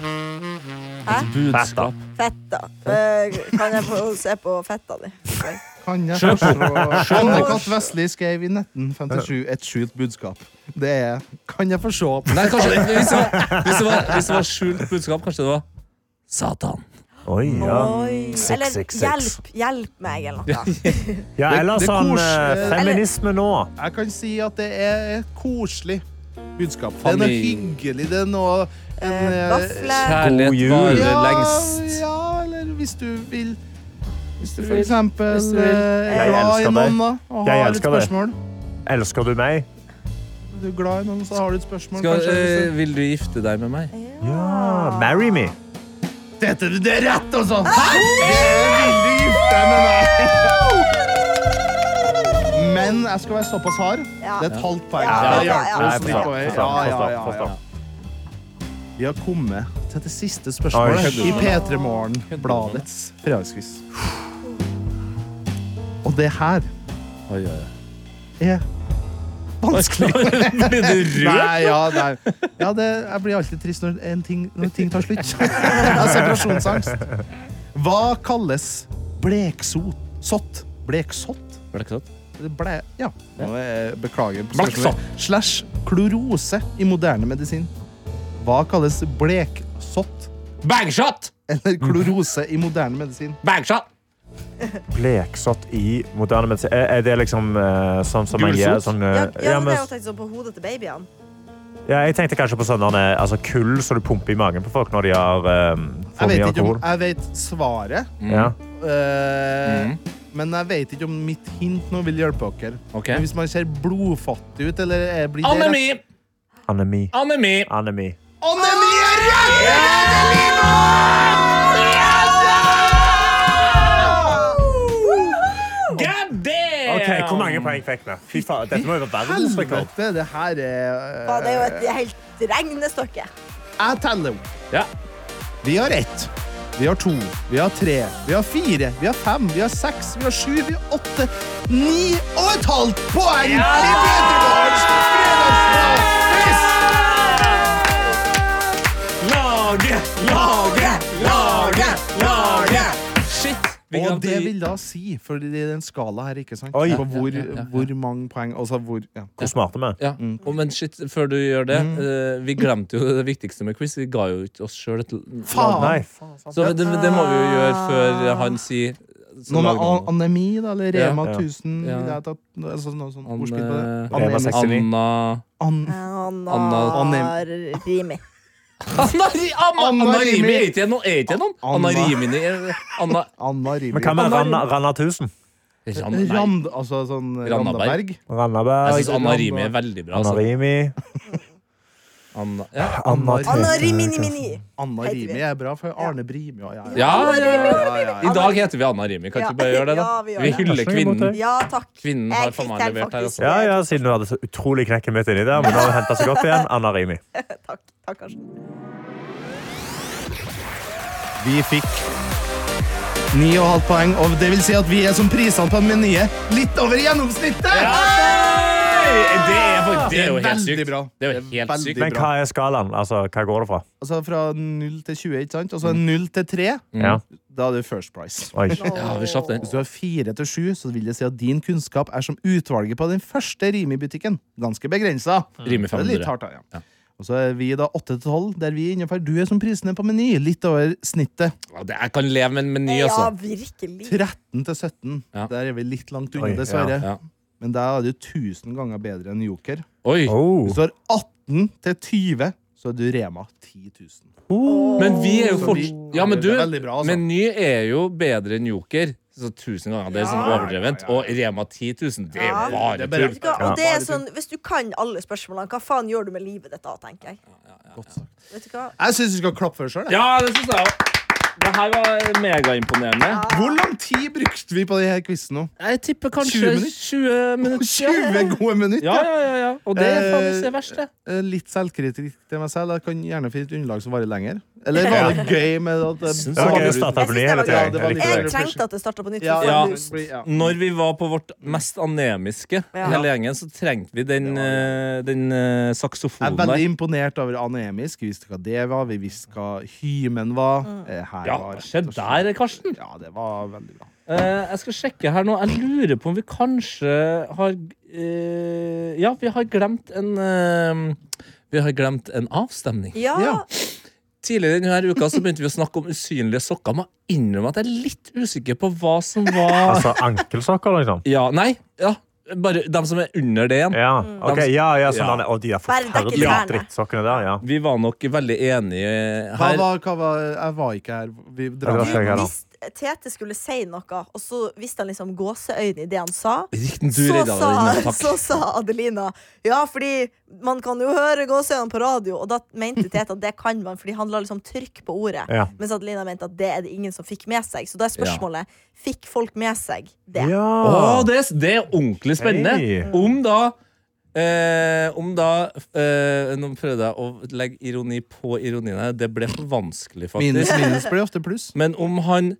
Speaker 2: Budskap.
Speaker 4: Fetta. Eh, kan jeg få se på fetta di?
Speaker 3: Kan jeg
Speaker 2: Kjør på.
Speaker 3: forstå Anne-Cath. Vestli skrev i 1957 et skjult budskap. Det er 'Kan jeg forstå'
Speaker 2: Nei, kanskje, hvis, det var, hvis, det var, hvis det var skjult budskap, kanskje det var Satan.
Speaker 5: Oi, ja.
Speaker 4: Oi.
Speaker 5: Seks,
Speaker 4: Eller
Speaker 5: seks, seks.
Speaker 4: hjelp, hjelp meg, eller noe.
Speaker 5: ja eller
Speaker 3: det er
Speaker 5: sånn
Speaker 3: kos-
Speaker 5: eh, feminisme nå.
Speaker 3: Jeg kan si at det er et koselig budskap. Det er noe
Speaker 2: Familie.
Speaker 3: hyggelig. Det er noe en,
Speaker 4: Eh,
Speaker 3: eh,
Speaker 4: Vafler.
Speaker 5: God
Speaker 2: Kjærlighet eh,
Speaker 5: jul.
Speaker 2: varer
Speaker 3: ja,
Speaker 2: lengst.
Speaker 3: Ja, eller hvis du vil Hvis du
Speaker 2: du
Speaker 3: for
Speaker 2: vil.
Speaker 3: eksempel
Speaker 2: Hvis du vil.
Speaker 3: eh, er
Speaker 5: Jeg
Speaker 3: glad i
Speaker 5: elsker
Speaker 3: noen
Speaker 5: deg.
Speaker 3: da, og
Speaker 5: Jeg
Speaker 3: har et
Speaker 5: elsker deg.
Speaker 3: spørsmål
Speaker 5: Elsker du meg?
Speaker 3: Er du glad i noen, så har du et spørsmål.
Speaker 2: Skal,
Speaker 3: kanskje, sånn.
Speaker 2: eh,
Speaker 3: hvis
Speaker 2: vil du gifte deg med meg?
Speaker 5: Ja. Marry me.
Speaker 3: du- Dette det er rett, altså! Hæ? Det vil du gifte deg med meg! Men jeg skal være såpass hard.
Speaker 4: Ja.
Speaker 3: Det er et halvt poeng.
Speaker 4: Ja,
Speaker 3: Det
Speaker 4: ja,
Speaker 3: hjelper
Speaker 4: ja.
Speaker 3: oss
Speaker 5: Nei,
Speaker 3: litt på
Speaker 5: forstår,
Speaker 3: vei.
Speaker 5: forstår,
Speaker 3: Ja, ja, ja,
Speaker 5: forstår,
Speaker 3: ja.
Speaker 5: forstår.
Speaker 3: Vi har kommet til det siste spørsmålet
Speaker 5: Oi.
Speaker 3: i P3 Morgen-bladets fredagsquiz. Og det her
Speaker 2: Oi, oi, oi.
Speaker 3: er vanskelig.
Speaker 2: Blir du rød?
Speaker 3: Nei, ja, nei. Ja, det, jeg blir alltid trist når, en ting, når ting tar slutt. Jeg har separasjonsangst. Hva kalles bleksot? Sott? Bleksott?
Speaker 2: Var det ikke sant?
Speaker 3: Ble, ja. Nå er- Beklager. på
Speaker 2: Bleksott.
Speaker 3: spørsmålet. Slash klorose i moderne medisin. Hva kalles bleksott?
Speaker 2: Bangshot!
Speaker 3: eller klorose i moderne medisin.
Speaker 2: Bangshot!
Speaker 5: Bleksott i moderne medisin. Er er det liksom eh, sånn som man gjør
Speaker 2: Gulsot?
Speaker 5: sånn
Speaker 4: Ja,
Speaker 5: eh,
Speaker 4: ja,
Speaker 5: ja,
Speaker 4: men det er
Speaker 5: men,
Speaker 4: jo tenkt sånn på hodet til babyene.
Speaker 5: ja, Jeg tenkte kanskje på sånn eh, altså, kull som du pumper i magen på folk når de har eh,
Speaker 3: Jeg vet
Speaker 5: for mye
Speaker 3: ikke om Mm.
Speaker 5: alkohol.
Speaker 3: jeg vet svaret,
Speaker 5: Ja.
Speaker 3: øh,
Speaker 2: Mm.
Speaker 3: men jeg vet ikke om mitt hint nå vil hjelpe dere.
Speaker 2: Ok.
Speaker 3: Men hvis man ser blodfattig ut, eller er- blir det
Speaker 2: Anemi!
Speaker 5: Anemi.
Speaker 2: Anemi!
Speaker 5: Anemi.
Speaker 3: Anemi er rett!
Speaker 2: God damn!
Speaker 5: OK, hvor mange poeng fikk vi? Fy faen, dette må jo være verdensrekord.
Speaker 3: Helvete, det her
Speaker 4: Ja,
Speaker 3: er eh,
Speaker 4: det er jo et helt regnestykke.
Speaker 3: Jeg teller opp.
Speaker 2: Ja.
Speaker 3: Vi har ett. Vi har to, vi har tre, vi har fire, vi har fem, vi har seks, vi har sju, vi har åtte, ni og et halvt poeng! i Petermorgens fredagsfest!
Speaker 2: Lage, lage, lage, lage! Shit! vi
Speaker 3: Og
Speaker 2: glemte
Speaker 3: det
Speaker 2: å gi-
Speaker 3: vil da si, for det er en skala her, ikke sant?
Speaker 5: Oi.
Speaker 3: På hvor,
Speaker 2: Ja, ja, ja, ja.
Speaker 3: hvor mange poeng Altså hvor ja.
Speaker 5: Hvor smarte vi er.
Speaker 2: Ja.
Speaker 3: Mm.
Speaker 2: og men shit, før du gjør det eh, Vi glemte jo det viktigste med quiz. Vi ga jo ikke oss sjøl et l-
Speaker 3: Faen!
Speaker 5: Nei.
Speaker 2: Så det, det må vi jo gjøre før han sier så
Speaker 3: Noe med
Speaker 2: lager
Speaker 3: an
Speaker 2: han-
Speaker 3: anemi, da, eller Rema
Speaker 5: Ja.
Speaker 2: Ja.
Speaker 3: 1000 ville jeg tatt altså, Noe sånt
Speaker 2: An-
Speaker 3: ordspill på det.
Speaker 5: Rema
Speaker 3: Anemi.
Speaker 2: Anna
Speaker 5: 69.
Speaker 3: An
Speaker 4: Anna Rimi.
Speaker 2: Anna, Ri- Anna,
Speaker 3: Anna
Speaker 2: Anna Rimi
Speaker 3: Rimi.
Speaker 2: er ikke jeg noe- er ikke jeg noen? Anna
Speaker 3: Anna.
Speaker 2: Rimini er- Anna
Speaker 3: Anna Rimi.
Speaker 5: Men hva med Ranna, Ranna 1000?
Speaker 2: Ran, nei.
Speaker 3: Rand, altså sånn
Speaker 2: Randaberg.
Speaker 3: Randaberg.
Speaker 5: Randaberg,
Speaker 2: Jeg syns Anna Rimi er veldig bra.
Speaker 5: Anna
Speaker 2: Altså.
Speaker 5: Rimi
Speaker 2: Anna, altså. ja.
Speaker 5: Anna
Speaker 3: Anna-
Speaker 4: Anna
Speaker 5: Tete.
Speaker 4: Rimini-mini.
Speaker 3: Anna
Speaker 4: Heter vi.
Speaker 3: Rimi er bra, for Arne Brimi og jeg.
Speaker 2: Ja, ja, ja, ja.
Speaker 3: ja, ja,
Speaker 2: I
Speaker 3: ja.
Speaker 2: dag heter vi Anna Rimi. Kan
Speaker 4: Ja.
Speaker 2: ikke vi bare gjøre det, da?
Speaker 4: Ja, vi gjør
Speaker 2: vi
Speaker 4: det.
Speaker 2: hyller
Speaker 5: Vær så god,
Speaker 2: kvinnen.
Speaker 5: Tete.
Speaker 4: Ja, takk.
Speaker 2: Kvinnen har
Speaker 4: Jeg
Speaker 2: faen
Speaker 4: fikk
Speaker 2: meg
Speaker 4: den
Speaker 2: levert her,
Speaker 4: faktisk.
Speaker 2: altså.
Speaker 5: Ja, ja, siden du hadde så utrolig knekken midt inni der, men nå har hun henta seg opp igjen. Anna Rimi.
Speaker 4: Takk, takk Karsten.
Speaker 3: Vi fikk 9,5 poeng, og det vil si at vi er som prisene på menyet. Litt over gjennomsnittet!
Speaker 2: Det er, faktisk- det er jo
Speaker 3: Det er
Speaker 2: helt
Speaker 3: veldig
Speaker 2: sykt.
Speaker 3: bra.
Speaker 2: Det er jo
Speaker 3: Det er
Speaker 2: helt
Speaker 3: veldig
Speaker 2: sykt.
Speaker 3: bra.
Speaker 5: Men hva er skalaen? Altså, hva går det fra?
Speaker 3: Altså fra 0 til 20, ikke sant? Og så
Speaker 2: Mm.
Speaker 3: 0 til 3,
Speaker 5: Ja.
Speaker 3: da er det first price.
Speaker 5: Oi.
Speaker 2: Ja, vi slapp den.
Speaker 3: Hvis du har 4 til 7, så vil det si at din kunnskap er som utvalget på den første Rimi-butikken. Ganske begrensa.
Speaker 2: Mm. Rimi
Speaker 3: Det er litt
Speaker 2: 500.
Speaker 3: hardt, da, ja. Og så er vi da 8 til 12, der vi er innenfor. Du er som prisene på meny, litt over snittet.
Speaker 2: Ja, det- Jeg kan leve med en meny,
Speaker 4: Ja,
Speaker 2: altså.
Speaker 4: virkelig.
Speaker 3: 13 til 17,
Speaker 2: Ja.
Speaker 3: der er vi litt langt
Speaker 5: Oi,
Speaker 3: unna,
Speaker 5: ja.
Speaker 3: dessverre.
Speaker 2: Ja.
Speaker 3: Men der er du 1000 ganger bedre enn Joker.
Speaker 2: Oi.
Speaker 5: Oh.
Speaker 3: Hvis du har 18 til 20, så er du Rema 10 000.
Speaker 2: Men vi er jo
Speaker 3: Så
Speaker 2: fort...
Speaker 3: vi-
Speaker 2: Ja, men du,
Speaker 3: Det er veldig bra, altså.
Speaker 2: Meny er jo bedre enn Joker. Så tusen ganger. Det er sånn overdrevent. Og Rema 10 000, det
Speaker 4: Ja.
Speaker 2: er bare
Speaker 3: Det er bare-
Speaker 2: tull.
Speaker 4: Vet du hva?
Speaker 5: Ja.
Speaker 4: Og det er sånn, Hvis du kan alle spørsmålene, hva faen gjør du med livet ditt da, tenker jeg. Vet du hva?
Speaker 3: Jeg syns du skal klappe for sjøl.
Speaker 2: Ja, det syns jeg òg. Det her var megaimponerende.
Speaker 3: Hvor lang tid brukte vi på denne quizen nå?
Speaker 2: Jeg tipper kanskje
Speaker 3: 20
Speaker 2: 20
Speaker 3: minutter?
Speaker 2: minutter.
Speaker 3: 20 gode minutter!
Speaker 2: Ja, ja, ja, ja. Og det er
Speaker 3: Eh,
Speaker 2: faktisk det verste.
Speaker 3: Eh, Litt selvkritikk til meg selv. Jeg kan gjerne finne et underlag som varer lenger. Eller var det gøy med at det
Speaker 2: Syns
Speaker 5: Det var gøy å
Speaker 3: ut-
Speaker 5: starte på ny
Speaker 4: Jeg
Speaker 5: hele
Speaker 4: synes det var
Speaker 5: tiden.
Speaker 3: gøy.
Speaker 5: Jeg likte
Speaker 4: Jeg
Speaker 5: det.
Speaker 4: trengte at det starta på nytt.
Speaker 3: Ja,
Speaker 4: for
Speaker 2: Ja.
Speaker 4: en boost.
Speaker 3: ja.
Speaker 2: Når vi var på vårt mest anemiske,
Speaker 4: Ja.
Speaker 2: hele gjengen, så trengte vi den, eh, den eh,
Speaker 3: Jeg er
Speaker 2: saksofonen
Speaker 3: veldig
Speaker 2: der.
Speaker 3: imponert over anemisk. Vi visste hva det var, vi visste hva hymen var.
Speaker 4: Mm.
Speaker 3: Eh, Her
Speaker 2: Ja,
Speaker 3: var
Speaker 2: hva skjedde der, Karsten?
Speaker 3: Ja, det var veldig bra.
Speaker 2: Eh, jeg skal sjekke her nå. Jeg lurer på om vi kanskje har eh, Ja, vi har glemt en eh, Vi har glemt en avstemning.
Speaker 4: Ja,
Speaker 3: Ja.
Speaker 2: Tidligere i denne uka så begynte vi å snakke om usynlige sokker. Jeg må innrømme at jeg er litt usikker på hva som var
Speaker 5: Altså ankelsokker, liksom?
Speaker 2: Ja, nei. Ja, bare dem som er under det igjen.
Speaker 5: Ja, ok, ja, ja, sånn
Speaker 2: Ja.
Speaker 5: han er. Å, de er
Speaker 4: Bare dekke
Speaker 5: forferdelige
Speaker 4: trærne.
Speaker 5: drittsokkene der, ja.
Speaker 2: Vi var nok veldig enige
Speaker 3: Hva
Speaker 2: her.
Speaker 3: var, hva var Jeg var ikke her. Vi
Speaker 5: Ja,
Speaker 3: drar
Speaker 5: det
Speaker 3: ja,
Speaker 5: var jeg da.
Speaker 4: Hvis Tete skulle si noe, og så visste han liksom gåseøyne i det han sa,
Speaker 2: Riktig, du
Speaker 4: så
Speaker 2: redda
Speaker 4: sa,
Speaker 2: deg nå,
Speaker 4: så
Speaker 2: takk.
Speaker 4: sa Adelina Ja, fordi man kan jo høre gåseøynene på radio, og da mente Tete at det kan man, fordi han la liksom trykk på ordet.
Speaker 5: Ja.
Speaker 4: Mens Adelina mente at det er det ingen som fikk med seg. Så da er spørsmålet fikk folk med seg det.
Speaker 5: ja.
Speaker 2: Å, det, er- det er ordentlig spennende.
Speaker 5: Ah. Hei.
Speaker 2: Om da eh, Om da eh, Nå prøvde jeg å legge ironi på ironien her. Det ble for vanskelig, faktisk.
Speaker 3: Minus minus blir ofte pluss.
Speaker 2: Men om han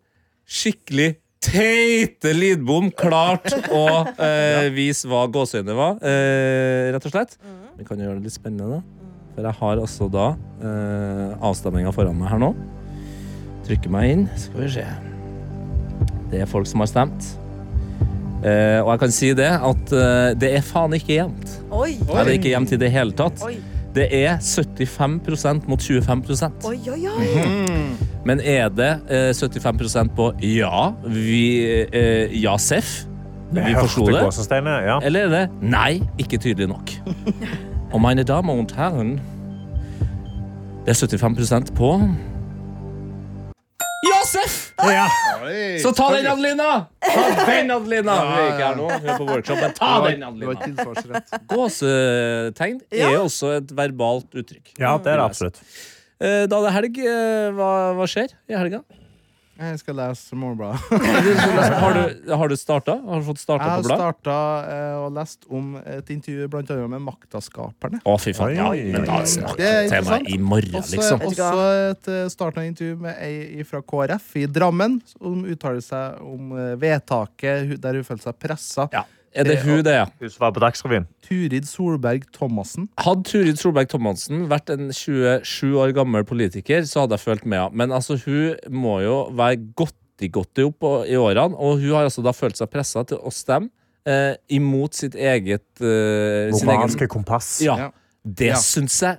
Speaker 2: skikkelig teite Lidbom klarte å eh, vise hva gåseøynene var, eh, rett og slett.
Speaker 4: Mm.
Speaker 2: Vi kan jo gjøre det litt spennende, da. For jeg har altså da eh, avstemninga foran meg her nå. Trykker meg inn. Skal vi se. Det er folk som har stemt. Eh, og jeg kan si det at eh, det er faen ikke jevnt.
Speaker 4: Oi,
Speaker 2: Nei, Det er ikke jevnt i det hele tatt.
Speaker 4: oi,
Speaker 2: Det er 75 mot 25
Speaker 4: oi, oi. oi.
Speaker 2: men er det eh, 75 på ja, vi eh, ja, Seff, vi
Speaker 5: Jeg
Speaker 2: forsto
Speaker 5: hørte
Speaker 2: det?
Speaker 5: gåsesteinene, Ja.
Speaker 2: Eller er det nei, ikke tydelig nok? Og mine damer og herren, det er 75 på ja, Seff!
Speaker 5: Ja.
Speaker 2: Så ta den, Adelina! Ta den, Adelina! Hun er ikke her nå, hun er på workshop, men ta den,
Speaker 3: Det var
Speaker 2: Adelina!
Speaker 3: tilsvarsrett.
Speaker 2: Gåsetegn er
Speaker 4: Ja.
Speaker 2: også et verbalt uttrykk.
Speaker 5: ja, det er det absolutt.
Speaker 2: Eh, Da det er helg, eh, hva, hva skjer i helga?
Speaker 3: Jeg skal lese Morgenbladet.
Speaker 2: Har du, har du starta? Har du fått starta på
Speaker 3: Jeg har
Speaker 2: blad?
Speaker 3: starta eh, og lest om et intervju blant annet med Maktaskaperne.
Speaker 2: Å, fy faen. Ja,
Speaker 5: Oi.
Speaker 2: men da
Speaker 3: Det er
Speaker 2: snakker vi
Speaker 3: interessant.
Speaker 2: temaet i morgen,
Speaker 3: Også,
Speaker 2: liksom.
Speaker 4: Vet du
Speaker 3: også et eh, starten av intervju med ei fra KrF i Drammen, som uttaler seg om eh, vedtaket hu- der hun følte seg pressa.
Speaker 2: Ja. Er det hun, det?
Speaker 5: Hun som var på Dagsrevyen.
Speaker 3: Turid Solberg Thomassen.
Speaker 2: Hadde Turid Solberg Thomassen vært en 27 år gammel politiker, så hadde jeg følt med henne. Men altså, hun må jo være godti-godti opp og- i årene, og hun har altså da følt seg pressa til å stemme eh, imot sitt eget eh, sin egen,
Speaker 5: Romanske kompass.
Speaker 2: Ja. Det
Speaker 3: Ja.
Speaker 2: syns jeg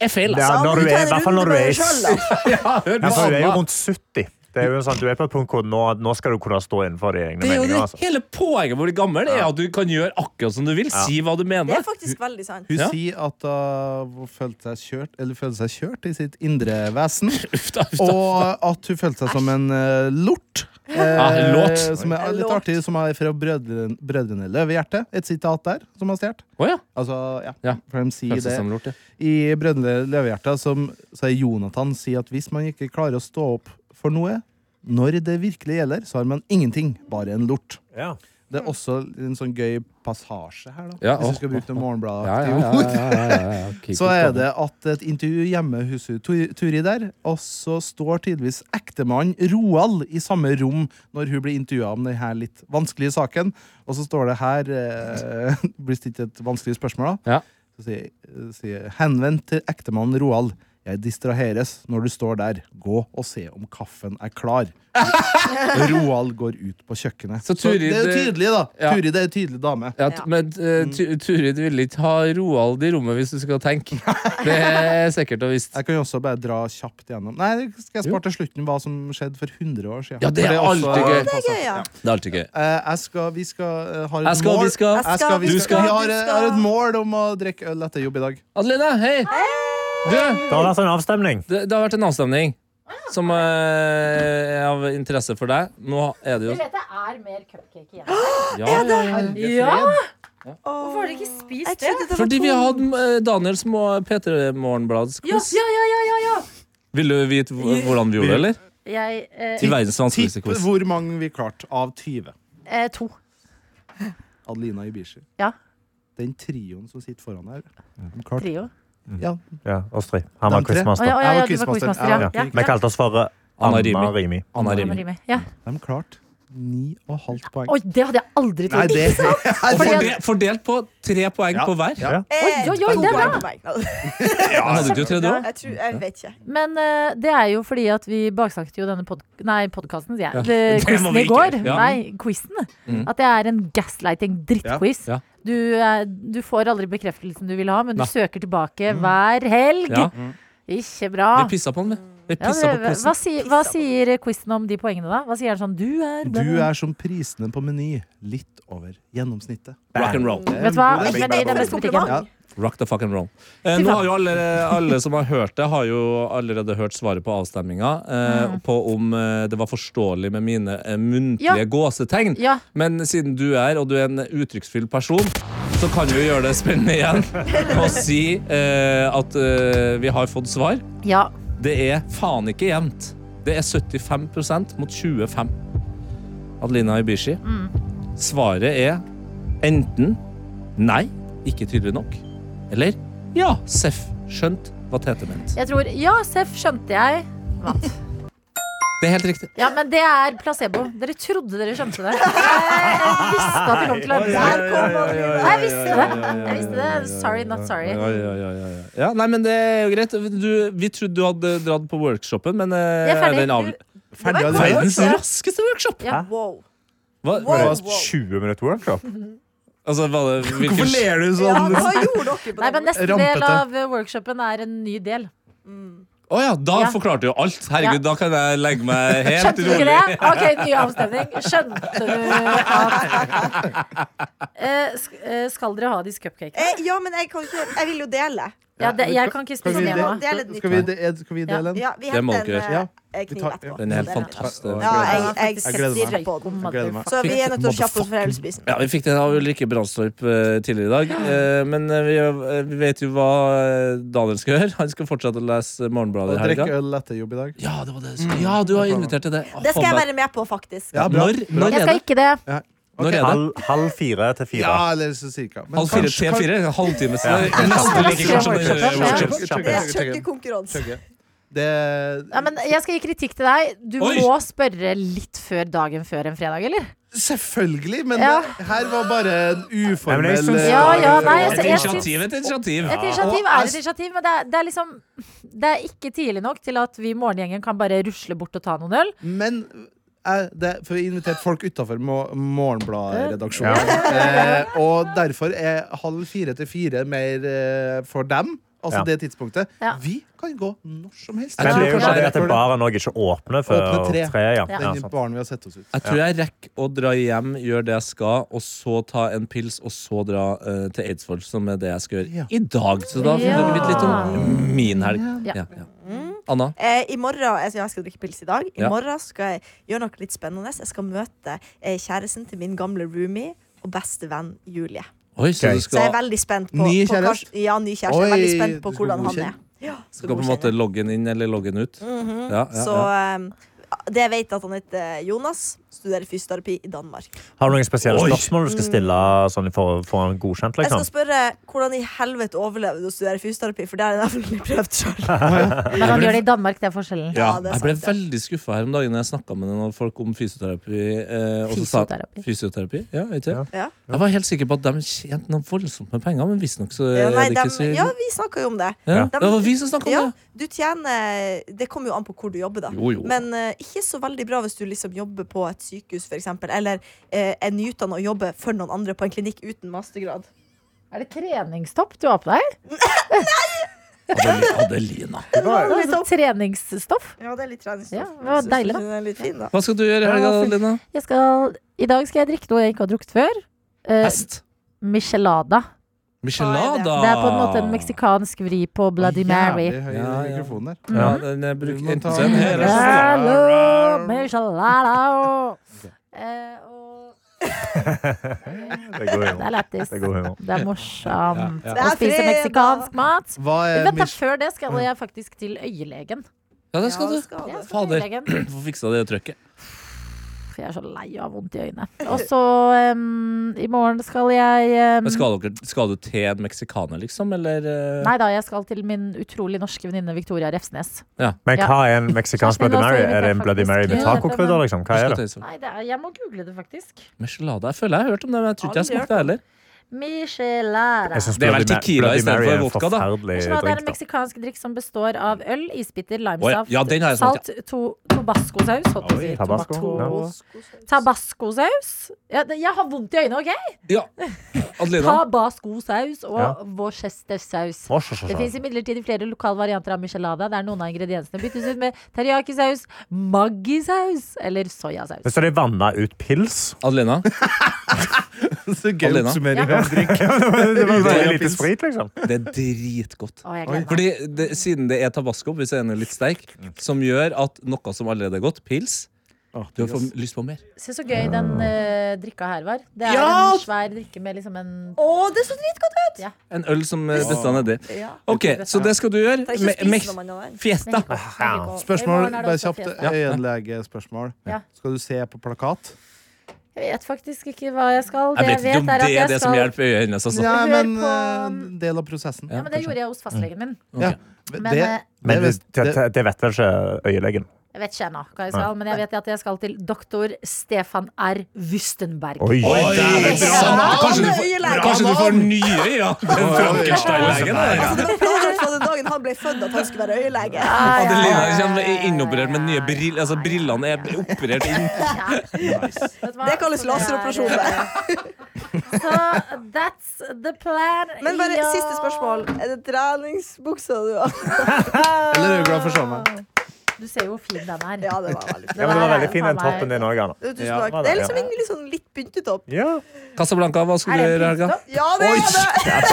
Speaker 2: er feil, Ah,
Speaker 5: Ja,
Speaker 2: altså.
Speaker 4: Da
Speaker 5: når
Speaker 4: må
Speaker 5: du
Speaker 4: ta
Speaker 5: er-
Speaker 4: en
Speaker 5: i hvert fall
Speaker 4: runde
Speaker 5: når du
Speaker 4: med
Speaker 5: er i-
Speaker 4: deg selv, da.
Speaker 5: Ja, for hun er jo rundt 70. Det er jo en sånn, du er på et punkt hvor nå, nå skal du kunne stå innenfor de egne
Speaker 2: Det er jo
Speaker 5: meningene.
Speaker 2: det
Speaker 5: Altså.
Speaker 2: hele poenget med å bli gammel, er at du kan gjøre akkurat som du vil. Si hva du
Speaker 4: Det
Speaker 2: mener.
Speaker 4: er faktisk veldig sant.
Speaker 3: Hun
Speaker 2: Ja.
Speaker 3: sier at uh, hun følte seg kjørt Eller følte seg kjørt i sitt indre vesen.
Speaker 2: Uff da, uff da.
Speaker 3: Og at hun følte seg som en eh, lort.
Speaker 2: Ah, en låt.
Speaker 3: som er
Speaker 4: En
Speaker 3: litt
Speaker 4: låt.
Speaker 3: artig, som er fra Brødrene, brødrene Løvehjerte. Et sitat der som har stjålet.
Speaker 2: Å ja.
Speaker 3: Altså, ja.
Speaker 2: Ja.
Speaker 3: For de sier
Speaker 2: Føles det
Speaker 3: det.
Speaker 2: som lort, ja.
Speaker 3: I Brødrene Løvehjerta som- så er Jonathan sier at hvis man ikke klarer å stå opp for noe når det virkelig gjelder, så har man ingenting, bare en lort.
Speaker 5: Ja.
Speaker 3: Det er også en sånn gøy passasje her, da.
Speaker 2: Ja,
Speaker 3: hvis
Speaker 2: å,
Speaker 3: du skal
Speaker 2: å,
Speaker 3: bruke noen morgenblad
Speaker 2: Ja, ja, ja, ja, ja, ja, ja. Ok,
Speaker 3: Så
Speaker 2: godt
Speaker 3: er
Speaker 2: poeng.
Speaker 3: det at et intervju hjemme hos hun Tur- Turi der, og så står tydeligvis ektemannen Roald i samme rom når hun blir intervjua om denne litt vanskelige saken. Og så står det her eh, Blir stilt et vanskelig spørsmål, da.
Speaker 2: Ja.
Speaker 3: Så sier, sier henvendt til ektemannen Roald. Jeg distraheres når du står der. Gå og se om kaffen er klar. Roald går ut på kjøkkenet.
Speaker 2: Så Turid-
Speaker 3: det er jo tydelig, da.
Speaker 2: Ja.
Speaker 3: Turi det er en tydelig dame.
Speaker 2: Ja, t- men eh, Tu- Turid ville ikke ha Roald i rommet hvis du skal tenke. Det er sikkert og visst.
Speaker 3: Jeg kan jo også bare dra kjapt gjennom. Nei, det skal jeg spare til slutten hva som skjedde for 100 år siden.
Speaker 2: Ja, det
Speaker 3: For
Speaker 2: er
Speaker 3: også-
Speaker 2: alltid gøy.
Speaker 4: Det er gøy, ja.
Speaker 2: Det er alltid gøy.
Speaker 3: Eh, jeg skal, vi skal eh, har et
Speaker 2: Jeg skal,
Speaker 3: mål.
Speaker 2: vi skal.
Speaker 3: Jeg skal, vi
Speaker 4: Du
Speaker 3: skal.
Speaker 4: skal,
Speaker 3: Vi har,
Speaker 4: du
Speaker 3: eh,
Speaker 4: skal.
Speaker 3: har et mål om å drikke øl etter jobb i dag.
Speaker 2: Adelina, hei! Du,
Speaker 5: Det har vært en avstemning.
Speaker 2: det, det har vært en avstemning som eh, er av interesse for deg. Nå er det jo
Speaker 6: Dere vet det er mer cupcake igjen.
Speaker 2: ja, ja, ja.
Speaker 6: Ja!
Speaker 4: Hvorfor
Speaker 6: Hvorfor har dere ikke
Speaker 4: Jeg
Speaker 6: spist det?
Speaker 4: trodde det var
Speaker 2: Fordi vi
Speaker 4: to.
Speaker 2: har hatt eh, Daniels må-
Speaker 6: Ja,
Speaker 2: P3-morgenbladsquiz.
Speaker 6: ja, ja, ja, ja, ja.
Speaker 2: Vil du vite hvor- hvordan vi gjorde det, eller?
Speaker 6: Jeg eh,
Speaker 2: Til verdens vanskeligste
Speaker 3: Tipp
Speaker 2: quiz.
Speaker 3: hvor mange vi klarte av 20.
Speaker 6: eh, To.
Speaker 3: Adelina Ibishi.
Speaker 6: Ja.
Speaker 3: Den trioen som sitter foran her. de klarte-
Speaker 6: Trio.
Speaker 3: Ja.
Speaker 5: Ja, oss tre. Han var
Speaker 3: De tre.
Speaker 6: Å ja,
Speaker 5: quizmaster.
Speaker 6: å ja,
Speaker 3: Jeg
Speaker 6: ja,
Speaker 3: var
Speaker 6: du var
Speaker 3: quizmaster.
Speaker 6: quizmaster.
Speaker 3: Jeg
Speaker 6: Ja.
Speaker 5: Ja.
Speaker 6: Ja,
Speaker 5: Vi kalte oss for eh,
Speaker 2: Anna Rimi.
Speaker 5: Anna Rimi.
Speaker 2: Anna
Speaker 6: Anna
Speaker 2: Rimi.
Speaker 6: Rimi. Ja.
Speaker 3: De klarte 9,5 poeng.
Speaker 6: Oi, det hadde jeg aldri
Speaker 3: Nei,
Speaker 6: trodd.
Speaker 3: det
Speaker 2: Og
Speaker 6: Fordi at-
Speaker 2: fordelt, fordelt på tre poeng på hver.
Speaker 3: Ja.
Speaker 4: Eh,
Speaker 6: Oi, oi, oi,
Speaker 4: to
Speaker 6: det
Speaker 4: poeng
Speaker 6: er bra.
Speaker 4: på meg.
Speaker 2: Jeg Ah, hadde ikke jo tredje òg.
Speaker 4: Jeg, tror, jeg vet ikke.
Speaker 6: Men eh, det er jo fordi at vi baksnakket jo denne pod nei, podkasten, sier jeg. Det,
Speaker 2: det må
Speaker 6: quizen
Speaker 2: vi
Speaker 6: i går.
Speaker 2: ikke. Ja. Mm.
Speaker 6: Nei, quizen. At det er en gaslighting-drittquiz.
Speaker 2: Ja. Ja.
Speaker 6: Du, eh, du får aldri bekreftelsen du vil ha, men du
Speaker 2: Nei. Mm.
Speaker 6: søker tilbake hver helg.
Speaker 2: Ja.
Speaker 6: Ikke bra.
Speaker 2: Vi pissa på den, vi. Vi
Speaker 6: Ja,
Speaker 2: pissa på
Speaker 6: det- hva,
Speaker 2: quizen.
Speaker 6: sier, hva sier quizen om de poengene, da? Hva sier den sånn Du er,
Speaker 3: Du er som prisene på Meny, litt over gjennomsnittet.
Speaker 2: Rock and roll.
Speaker 6: Vet du hva? Ikke med det i denne
Speaker 4: Det er et kompliment.
Speaker 6: butikken.
Speaker 3: Ja.
Speaker 2: Rock the fucking roll. Eh,
Speaker 6: Fy
Speaker 2: nå
Speaker 6: faen.
Speaker 2: har jo alle, alle som har hørt det, har jo allerede hørt svaret på avstemminga. Eh, På om eh, det var forståelig med mine eh, muntlige
Speaker 6: Mm. Ja.
Speaker 2: gåsetegn.
Speaker 6: Ja.
Speaker 2: Men siden du er, og du er en uttrykksfylt person, så kan vi jo gjøre det spennende igjen og si eh, at eh, vi har fått svar.
Speaker 6: Ja.
Speaker 2: Det er faen ikke jevnt. Det er 75 mot 25. Adelina Ibishi. Svaret er enten nei, ikke tydelig nok, eller ja, Seff skjønt hva Tete mente.
Speaker 6: Jeg tror Ja, Seff skjønte jeg. Vant.
Speaker 2: Det er helt riktig.
Speaker 6: Ja, men det er placebo. Dere trodde dere skjønte det. Jeg visste at det kom til å ende
Speaker 4: Der
Speaker 6: sånn.
Speaker 4: kom Adelina.
Speaker 6: Jeg visste det. Jeg visste det. Sorry, not sorry.
Speaker 2: Ja, ja, ja, ja, ja. ja, nei, men det er jo greit. Du, vi trodde du hadde dratt på workshopen, men eh,
Speaker 6: Jeg er ferdig.
Speaker 2: den av...
Speaker 6: Du-
Speaker 3: Ferdig allerede?
Speaker 2: Verdens raskeste workshop!
Speaker 6: Ja.
Speaker 4: Wow.
Speaker 2: Hva,
Speaker 4: Wow.
Speaker 5: Det var
Speaker 4: wow.
Speaker 5: 20 minutter workshop.
Speaker 2: altså, hva det, hvilken-
Speaker 3: Hvorfor ler du
Speaker 4: Ja,
Speaker 3: sånn?
Speaker 4: hva gjorde dere på
Speaker 6: Nei, men
Speaker 4: den?
Speaker 6: neste
Speaker 3: Rampete.
Speaker 6: del av eh, workshopen er en ny del.
Speaker 2: Å ja, da
Speaker 6: Ja.
Speaker 2: forklarte du jo alt. Herregud, da
Speaker 6: Ja.
Speaker 2: kan jeg legge meg helt
Speaker 6: Skjønte du
Speaker 2: rolig.
Speaker 6: ikke det? Ok, ny avstemning. Skjønte du at Eh, sk- eh, Skal dere ha disse cupcakene?
Speaker 4: Eh, ja, men jeg, kan ikke, jeg vil jo dele.
Speaker 6: Ja, det, jeg kan ikke
Speaker 3: Skal
Speaker 6: spise
Speaker 3: vi
Speaker 6: det nå.
Speaker 4: Det er litt
Speaker 3: de- Skal vi, de- skal vi dele en?
Speaker 4: Ja, vi
Speaker 2: Det må
Speaker 4: henter
Speaker 2: dere
Speaker 4: en
Speaker 3: gjøre.
Speaker 4: eh, kniv
Speaker 3: Vi tar-
Speaker 4: etterpå.
Speaker 2: Den er helt
Speaker 4: Dere.
Speaker 2: fantastisk.
Speaker 4: Ja, jeg, jeg,
Speaker 6: Jeg
Speaker 3: gleder meg.
Speaker 4: stirrer på den.
Speaker 3: Jeg gleder meg.
Speaker 4: Så vi er nødt til å kjappe oss, for jeg vil spise den.
Speaker 2: Ja, Vi fikk den av Ulrikke Brandstorp eh, tidligere i dag. Eh, men eh, vi, eh, vi vet jo hva eh, Daniel skal gjøre. Han skal fortsette å lese
Speaker 3: Og
Speaker 2: Morgenbladet i
Speaker 3: drikke
Speaker 2: helga.
Speaker 3: øl Mm. etter jobb i dag.
Speaker 2: Ja, det var det. ja, du har invitert til det. Å,
Speaker 4: Det skal
Speaker 2: faen
Speaker 4: jeg
Speaker 2: meg.
Speaker 4: være med på, faktisk.
Speaker 3: Ja, bra.
Speaker 2: Når, når
Speaker 6: Jeg
Speaker 2: er
Speaker 6: skal
Speaker 2: det?
Speaker 6: ikke det.
Speaker 2: Når er det?
Speaker 5: Halv, halv fire til fire.
Speaker 3: Ja, eller så cirka. Men
Speaker 2: Halv fire
Speaker 3: kanskje-
Speaker 2: til fire? En halvtime? Så altså, det er nesten like kort som den eh, workshopen.
Speaker 3: Kjøkke, kjøkke,
Speaker 4: Det
Speaker 3: kjøkke,
Speaker 4: er
Speaker 3: kjøkke.
Speaker 4: kjøkkenkonkurranse.
Speaker 3: Kjøkke. Det
Speaker 6: Ja, men jeg skal gi kritikk til deg. Du
Speaker 2: Oi.
Speaker 6: må spørre litt før dagen før en fredag, eller?
Speaker 3: Selvfølgelig, men
Speaker 6: Ja.
Speaker 3: det her var bare en
Speaker 5: Nei, men jeg
Speaker 3: uformell
Speaker 5: synes-
Speaker 6: Ja, ja, nei, jeg,
Speaker 2: Et
Speaker 6: Altså, jeg, syns-
Speaker 2: initiativ, et initiativ.
Speaker 6: et initiativ er et initiativ, men det er, det er liksom Det er ikke tidlig nok til at vi i morgengjengen kan bare rusle bort og ta noen øl.
Speaker 3: Men eh, det, for vi har invitert folk utafor Morgenbladet-redaksjonen. Eh, og derfor er halv fire til fire mer eh, for dem. Altså
Speaker 5: Ja.
Speaker 3: det tidspunktet.
Speaker 6: Ja.
Speaker 3: Vi kan gå når som helst.
Speaker 5: Men det er jo
Speaker 6: Ja,
Speaker 5: det at baren òg ikke åpner før
Speaker 3: Åpner tre.
Speaker 5: tre. Ja.
Speaker 6: Ja.
Speaker 5: Ja,
Speaker 3: Den
Speaker 5: sant.
Speaker 3: baren vi har sett oss ut.
Speaker 2: Jeg tror jeg rekker å dra hjem, gjøre det jeg skal, og så ta en pils, og så dra eh, til Eidsvoll, som er det jeg skal gjøre
Speaker 3: Ja.
Speaker 2: i dag. Så da får
Speaker 6: Ja.
Speaker 2: dere vite litt om min helg.
Speaker 6: Ja.
Speaker 2: Ja, ja. Anna?
Speaker 4: Eh, I morgen, jeg, jeg skal drikke pils i dag. I
Speaker 2: Ja.
Speaker 4: morgen skal jeg gjøre noe litt spennende. Jeg skal møte eh, kjæresten til min gamle roomie og beste venn Julie.
Speaker 2: Oi, så
Speaker 5: Ok.
Speaker 2: du
Speaker 4: Så jeg er
Speaker 2: skal,
Speaker 4: veldig spent på,
Speaker 3: Ny
Speaker 4: på hva-
Speaker 3: kjæreste?
Speaker 4: Ja, ny kjæreste. jeg er
Speaker 3: Oi,
Speaker 4: veldig spent på
Speaker 3: du skal
Speaker 4: hvordan han
Speaker 3: godkjenne.
Speaker 4: er. Ja, skal
Speaker 2: skal på en
Speaker 4: godkjenne.
Speaker 2: måte logge den inn eller logge den ut? ja, ja,
Speaker 4: Mhm. Så
Speaker 2: ja.
Speaker 4: eh, det jeg vet at han heter eh, Jonas. Studerer fysioterapi i Danmark.
Speaker 5: Har du noen spesielle
Speaker 3: Oi.
Speaker 5: spørsmål du skal stille sånn for å få han godkjent?
Speaker 4: Jeg skal
Speaker 5: Liksom?
Speaker 4: spørre hvordan i helvete overlever du å studere fysioterapi, for det har jeg nemlig prøvd sjøl.
Speaker 6: Men han gjør det i Danmark, det er forskjellen.
Speaker 4: Ja, det er
Speaker 2: Jeg ble
Speaker 4: sant, ja.
Speaker 2: veldig skuffa her om dagen når jeg snakka med noen folk om fysioterapi. Eh, og så sa-
Speaker 6: Fysioterapi.
Speaker 2: fysioterapi? Ja, vet du.
Speaker 5: Ja.
Speaker 4: Ja.
Speaker 2: Jeg var helt sikker på at de tjente noe voldsomt med penger, men visstnok så
Speaker 4: Ja,
Speaker 2: Eh, er
Speaker 4: nei,
Speaker 2: det
Speaker 4: dem-
Speaker 2: ikke så
Speaker 4: ja, vi snakka jo om det.
Speaker 2: Ja,
Speaker 4: dem-
Speaker 2: Det var vi som snakka om
Speaker 4: Ja,
Speaker 2: det!
Speaker 4: du tjener Det kommer jo an på hvor du jobber, da.
Speaker 2: Jo, jo.
Speaker 4: Men eh, ikke så veldig bra hvis du liksom jobber på et sykehus, f.eks., eller eh, er nyutdanna og jobber for noen andre på en klinikk uten mastergrad.
Speaker 6: Er det treningstopp du har på deg?
Speaker 2: Adel- Adelina.
Speaker 6: Det er sånn treningsstoff.
Speaker 4: Ja, det er litt treningsstoff.
Speaker 6: Ja, det var
Speaker 4: Synes
Speaker 6: deilig,
Speaker 4: du
Speaker 6: da.
Speaker 4: den er litt fin, da.
Speaker 2: Hva skal du gjøre i helga,
Speaker 6: Ja, fint.
Speaker 2: Adelina?
Speaker 6: Jeg skal, I dag skal jeg drikke noe jeg ikke har drukket før. Eh,
Speaker 2: Hest?
Speaker 6: Michelada.
Speaker 2: Michelada?
Speaker 6: Det er på en måte
Speaker 2: Ah.
Speaker 6: en meksikansk vri på Bloody Mary.
Speaker 3: Jævlig høy
Speaker 2: Ja, ja.
Speaker 3: mikrofon der.
Speaker 2: Ja,
Speaker 6: Mm.
Speaker 2: den jeg
Speaker 3: Du
Speaker 2: bruker
Speaker 3: må ta-
Speaker 2: enten den her altså. eller så
Speaker 6: Hallo, Michelada. Eh, og
Speaker 5: Det er god
Speaker 6: det er
Speaker 5: humor.
Speaker 6: lættis.
Speaker 5: Det er god humor.
Speaker 6: Det er morsomt
Speaker 3: Ja,
Speaker 4: ja.
Speaker 6: å spise meksikansk mat.
Speaker 3: Hva
Speaker 5: Eh,
Speaker 3: er
Speaker 6: Vent da,
Speaker 3: Mich-
Speaker 6: Før
Speaker 5: Mm.
Speaker 6: det skal jeg faktisk til øyelegen.
Speaker 2: Ja, det skal
Speaker 4: Ja,
Speaker 2: du.
Speaker 6: Jeg, skal til
Speaker 2: Fader.
Speaker 6: øyelegen.
Speaker 2: Få fiksa det trøkket.
Speaker 6: jeg er så lei av vondt i øynene. Og så em, i morgen skal jeg em,
Speaker 2: Men skal, dere, skal du til en meksikaner, liksom? Eller eh,
Speaker 6: Mm. Nei da, jeg skal til min utrolig norske venninne Victoria Refsnes.
Speaker 5: Men
Speaker 6: Ja.
Speaker 5: hva er en meksikansk
Speaker 6: Kjæresten min
Speaker 5: Bloody Mary?
Speaker 6: også invitert,
Speaker 5: Er det en Bloody Mary med
Speaker 6: faktisk. Ja,
Speaker 5: tacokrydder? Liksom?
Speaker 2: skal
Speaker 5: Hva er
Speaker 2: til
Speaker 5: det?
Speaker 2: en sånn-
Speaker 6: Nei, det er, jeg må google det faktisk.
Speaker 2: Michelada? Jeg føler jeg har hørt om det, men jeg tror ikke jeg
Speaker 4: Aldri
Speaker 2: smakte det heller.
Speaker 6: Michelada.
Speaker 5: Jeg synes
Speaker 2: Det er vel
Speaker 5: Bloody Ma-
Speaker 2: tequila
Speaker 5: Bloody
Speaker 2: i stedet
Speaker 5: Mary
Speaker 2: for
Speaker 5: er en
Speaker 2: vodka, da.
Speaker 5: forferdelig
Speaker 6: Michelada er en
Speaker 5: drink, da.
Speaker 6: meksikansk drikk som består av øl, isbiter,
Speaker 2: Å ja,
Speaker 6: limesaft,
Speaker 2: ja, den har jeg smakt,
Speaker 6: salt, to tabascosaus holdt jeg på å si.
Speaker 5: Oi, tabasco,
Speaker 6: Tomato- Tabascosaus. Ja, det- jeg har vondt i øynene, OK?
Speaker 2: Ja. Adelina?
Speaker 6: Tabascosaus og
Speaker 5: Ja.
Speaker 6: worcestersaus.
Speaker 5: Å, så, så,
Speaker 6: Det fins
Speaker 5: så.
Speaker 6: imidlertid flere lokale varianter av michelada der noen av ingrediensene byttes ut med teriyaki-saus, maggi-saus eller soyasaus.
Speaker 5: Men Så de vanna ut pils?
Speaker 2: Adelina?
Speaker 3: Så gøy
Speaker 2: Alina?
Speaker 3: oppsummering
Speaker 6: Ja.
Speaker 3: av drikk.
Speaker 5: Det var
Speaker 3: Ja,
Speaker 5: veldig lite
Speaker 3: pils.
Speaker 5: sprit, liksom.
Speaker 2: Det er dritgodt.
Speaker 6: Å, jeg gleder meg.
Speaker 2: Fordi det, Siden det er tabasco, hvis den er litt sterk, som gjør at noe som allerede er godt, pils Du får lyst på mer.
Speaker 6: Se så gøy den eh, drikka her var. Det er
Speaker 2: Ja!
Speaker 6: en svær drikke med liksom en
Speaker 4: Å, det er så dritgodt ut!
Speaker 2: En øl som eh, dette nedi.
Speaker 4: Ja.
Speaker 2: OK, så det skal du gjøre.
Speaker 4: Trenger ikke å
Speaker 2: Me-
Speaker 4: spise
Speaker 2: me-
Speaker 4: noe annet der.
Speaker 2: Fiesta.
Speaker 5: Ja.
Speaker 3: Spørsmål,
Speaker 6: I morgen er det
Speaker 3: bare
Speaker 6: også
Speaker 3: kjapt
Speaker 6: fest.
Speaker 3: øyenlegespørsmål.
Speaker 6: Ja.
Speaker 3: Skal du se på plakat?
Speaker 6: Jeg vet faktisk ikke hva jeg skal.
Speaker 2: Jeg
Speaker 6: Det jeg
Speaker 2: vet ikke
Speaker 6: vet,
Speaker 2: om
Speaker 6: er
Speaker 2: det er
Speaker 6: at jeg
Speaker 2: det som
Speaker 6: skal ja,
Speaker 2: hjelper øyet hennes. Altså.
Speaker 3: Ja,
Speaker 6: Hør
Speaker 3: men
Speaker 6: på-
Speaker 3: eh, del av prosessen.
Speaker 2: Ja,
Speaker 6: Men det gjorde jeg hos fastlegen min.
Speaker 3: Ja.
Speaker 6: Men
Speaker 3: Det,
Speaker 6: eh,
Speaker 3: det,
Speaker 5: Men det,
Speaker 3: vis-
Speaker 5: det,
Speaker 3: det,
Speaker 5: det vet vel ikke øyelegen.
Speaker 6: jeg vet ikke ennå hva jeg skal. Men jeg vet at jeg skal til doktor Stefan R. Wustenberg.
Speaker 5: Oi!
Speaker 2: dæven,
Speaker 4: bra navn!
Speaker 2: Kanskje du får,
Speaker 4: Øyelegen.
Speaker 2: kanskje du får nye øyne? Den Frankenstein-legen der.
Speaker 4: Altså, det var planlagt fra den dagen han ble født, at han skulle være øyelege.
Speaker 6: Ah, ja, ja,
Speaker 2: Adelina
Speaker 6: ja, ja, ja,
Speaker 2: kommer
Speaker 6: ja,
Speaker 2: innoperert med nye
Speaker 6: ja,
Speaker 2: brill, altså
Speaker 6: ja, ja,
Speaker 2: brillene er operert inn.
Speaker 6: Vet du hva?
Speaker 4: Det kalles
Speaker 6: Så
Speaker 4: laseroperasjon,
Speaker 6: er- Så that's the plan.
Speaker 4: Men bare
Speaker 6: Ja.
Speaker 4: siste spørsmål. Er det treningsbuksa du har?
Speaker 3: eller er du glad for sommeren?
Speaker 6: Du ser jo hvor fin den
Speaker 4: Ja,
Speaker 6: er.
Speaker 4: det var veldig
Speaker 5: Ja, men det var
Speaker 6: der er
Speaker 5: veldig fin, den
Speaker 6: faen meg-
Speaker 5: toppen din òg, Anna.
Speaker 4: Tusen
Speaker 5: Ja,
Speaker 4: takk.
Speaker 5: var
Speaker 4: Det
Speaker 5: det,
Speaker 4: er liksom
Speaker 5: ja.
Speaker 4: en litt sånn litt pyntetopp.
Speaker 5: Ja.
Speaker 2: Casablanca, hva
Speaker 6: Er
Speaker 2: skulle du
Speaker 6: det
Speaker 2: gjøre i helga?
Speaker 6: prinstopp?
Speaker 4: Ja, det er det!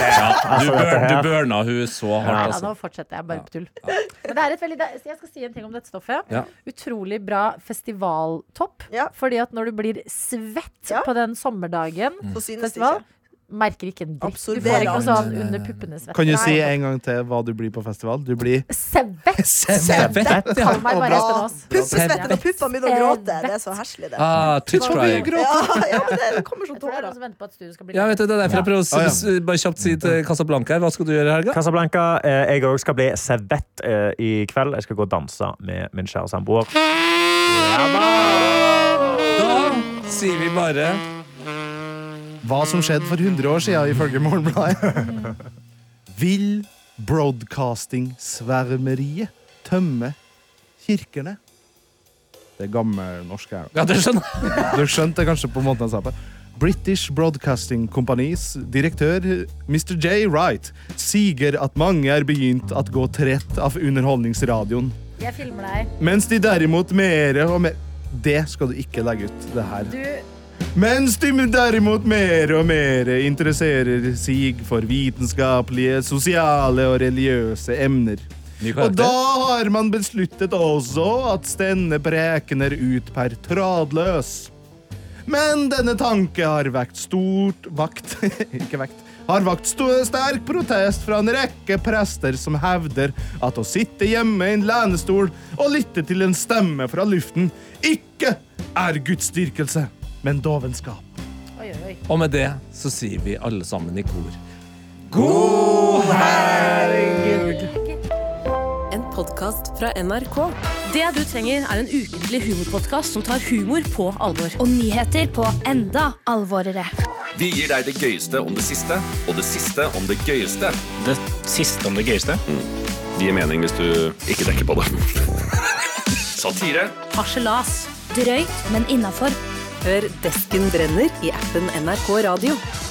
Speaker 2: Du,
Speaker 5: Altså,
Speaker 2: burn,
Speaker 5: dette
Speaker 2: du
Speaker 5: her-
Speaker 2: burna hun så hardt,
Speaker 6: Ja, nå
Speaker 2: altså.
Speaker 6: fortsetter jeg bare på tull. Men det er et veldig, det er- jeg skal si en ting om dette stoffet.
Speaker 2: Ja.
Speaker 6: Utrolig bra festivaltopp.
Speaker 4: Ja.
Speaker 6: Fordi at når du blir svett
Speaker 4: Ja.
Speaker 6: på den sommerdagen
Speaker 2: Mm.
Speaker 4: Så synes det
Speaker 6: festival,
Speaker 4: ikke.
Speaker 6: merker ikke en dritt. Du
Speaker 4: Absorberer
Speaker 6: får ikke
Speaker 4: alt.
Speaker 6: noe sånn under puppene-svett.
Speaker 3: Kan du si
Speaker 6: Nei.
Speaker 3: en gang til hva du blir på festival? Du blir
Speaker 6: Svett!
Speaker 2: Svett, ja.
Speaker 6: Kall meg bare
Speaker 4: Bra.
Speaker 6: Espen Aas.
Speaker 4: Puppesvette når puppene begynner å gråte. Det er så herselig, det.
Speaker 2: Ah, tit crying.
Speaker 4: Ja, ja, men det kommer sånn
Speaker 6: Jeg tror det er
Speaker 4: tårer.
Speaker 6: noen som venter på at studio skal bli
Speaker 2: Ja, vet du, det er derfor jeg prøver å
Speaker 3: Ja.
Speaker 2: s- s- bare kjapt si til Casablanca her, hva skal du gjøre i helga?
Speaker 5: Casablanca. Eh, jeg òg skal bli servett eh, i kveld. Jeg skal gå og danse med min kjære samboer.
Speaker 2: Da sier vi bare
Speaker 3: Hva som skjedde for 100 år siden, ifølge Morgenbladet. Vil broadcasting-svermeriet tømme kirkene? Det er gammelnorsk her.
Speaker 2: Ja, det skjønner jeg.
Speaker 3: Du skjønte kanskje på måten jeg sa det. British Broadcasting Companys direktør Mr. J. Wright siger at mange er begynt at gå trett av underholdningsradioen.
Speaker 6: Jeg filmer deg.
Speaker 3: Mens de derimot mere og mer Det skal du ikke legge ut. det her.
Speaker 6: Du
Speaker 3: Mens de derimot mer og mer interesserer sig for vitenskapelige, sosiale og religiøse emner.
Speaker 2: Ny
Speaker 3: Og
Speaker 2: karakter.
Speaker 3: da har man besluttet også at Stenne Breken er utpært trådløs. Men denne tanke har vekt stort vakt Ikke vekt. Har vakt sto- sterk protest fra en rekke prester som hevder at å sitte hjemme i en lenestol og lytte til en stemme fra luften ikke er gudsdyrkelse, men dovenskap.
Speaker 6: Oi, oi, oi.
Speaker 2: Og med det så sier vi alle sammen i kor.
Speaker 7: En podkast fra NRK. Det du trenger, er en ukentlig humorpodkast som tar humor på alvor.
Speaker 8: og nyheter på enda alvorere.
Speaker 9: Vi gir deg det gøyeste om det siste, og det siste om det gøyeste. Mm.
Speaker 10: Det siste om det gøyeste.
Speaker 9: Det gir mening hvis du ikke tenker på det. Satire.
Speaker 7: Harselas.
Speaker 8: Drøyt, men innafor.
Speaker 7: Hør Desken brenner i appen NRK Radio.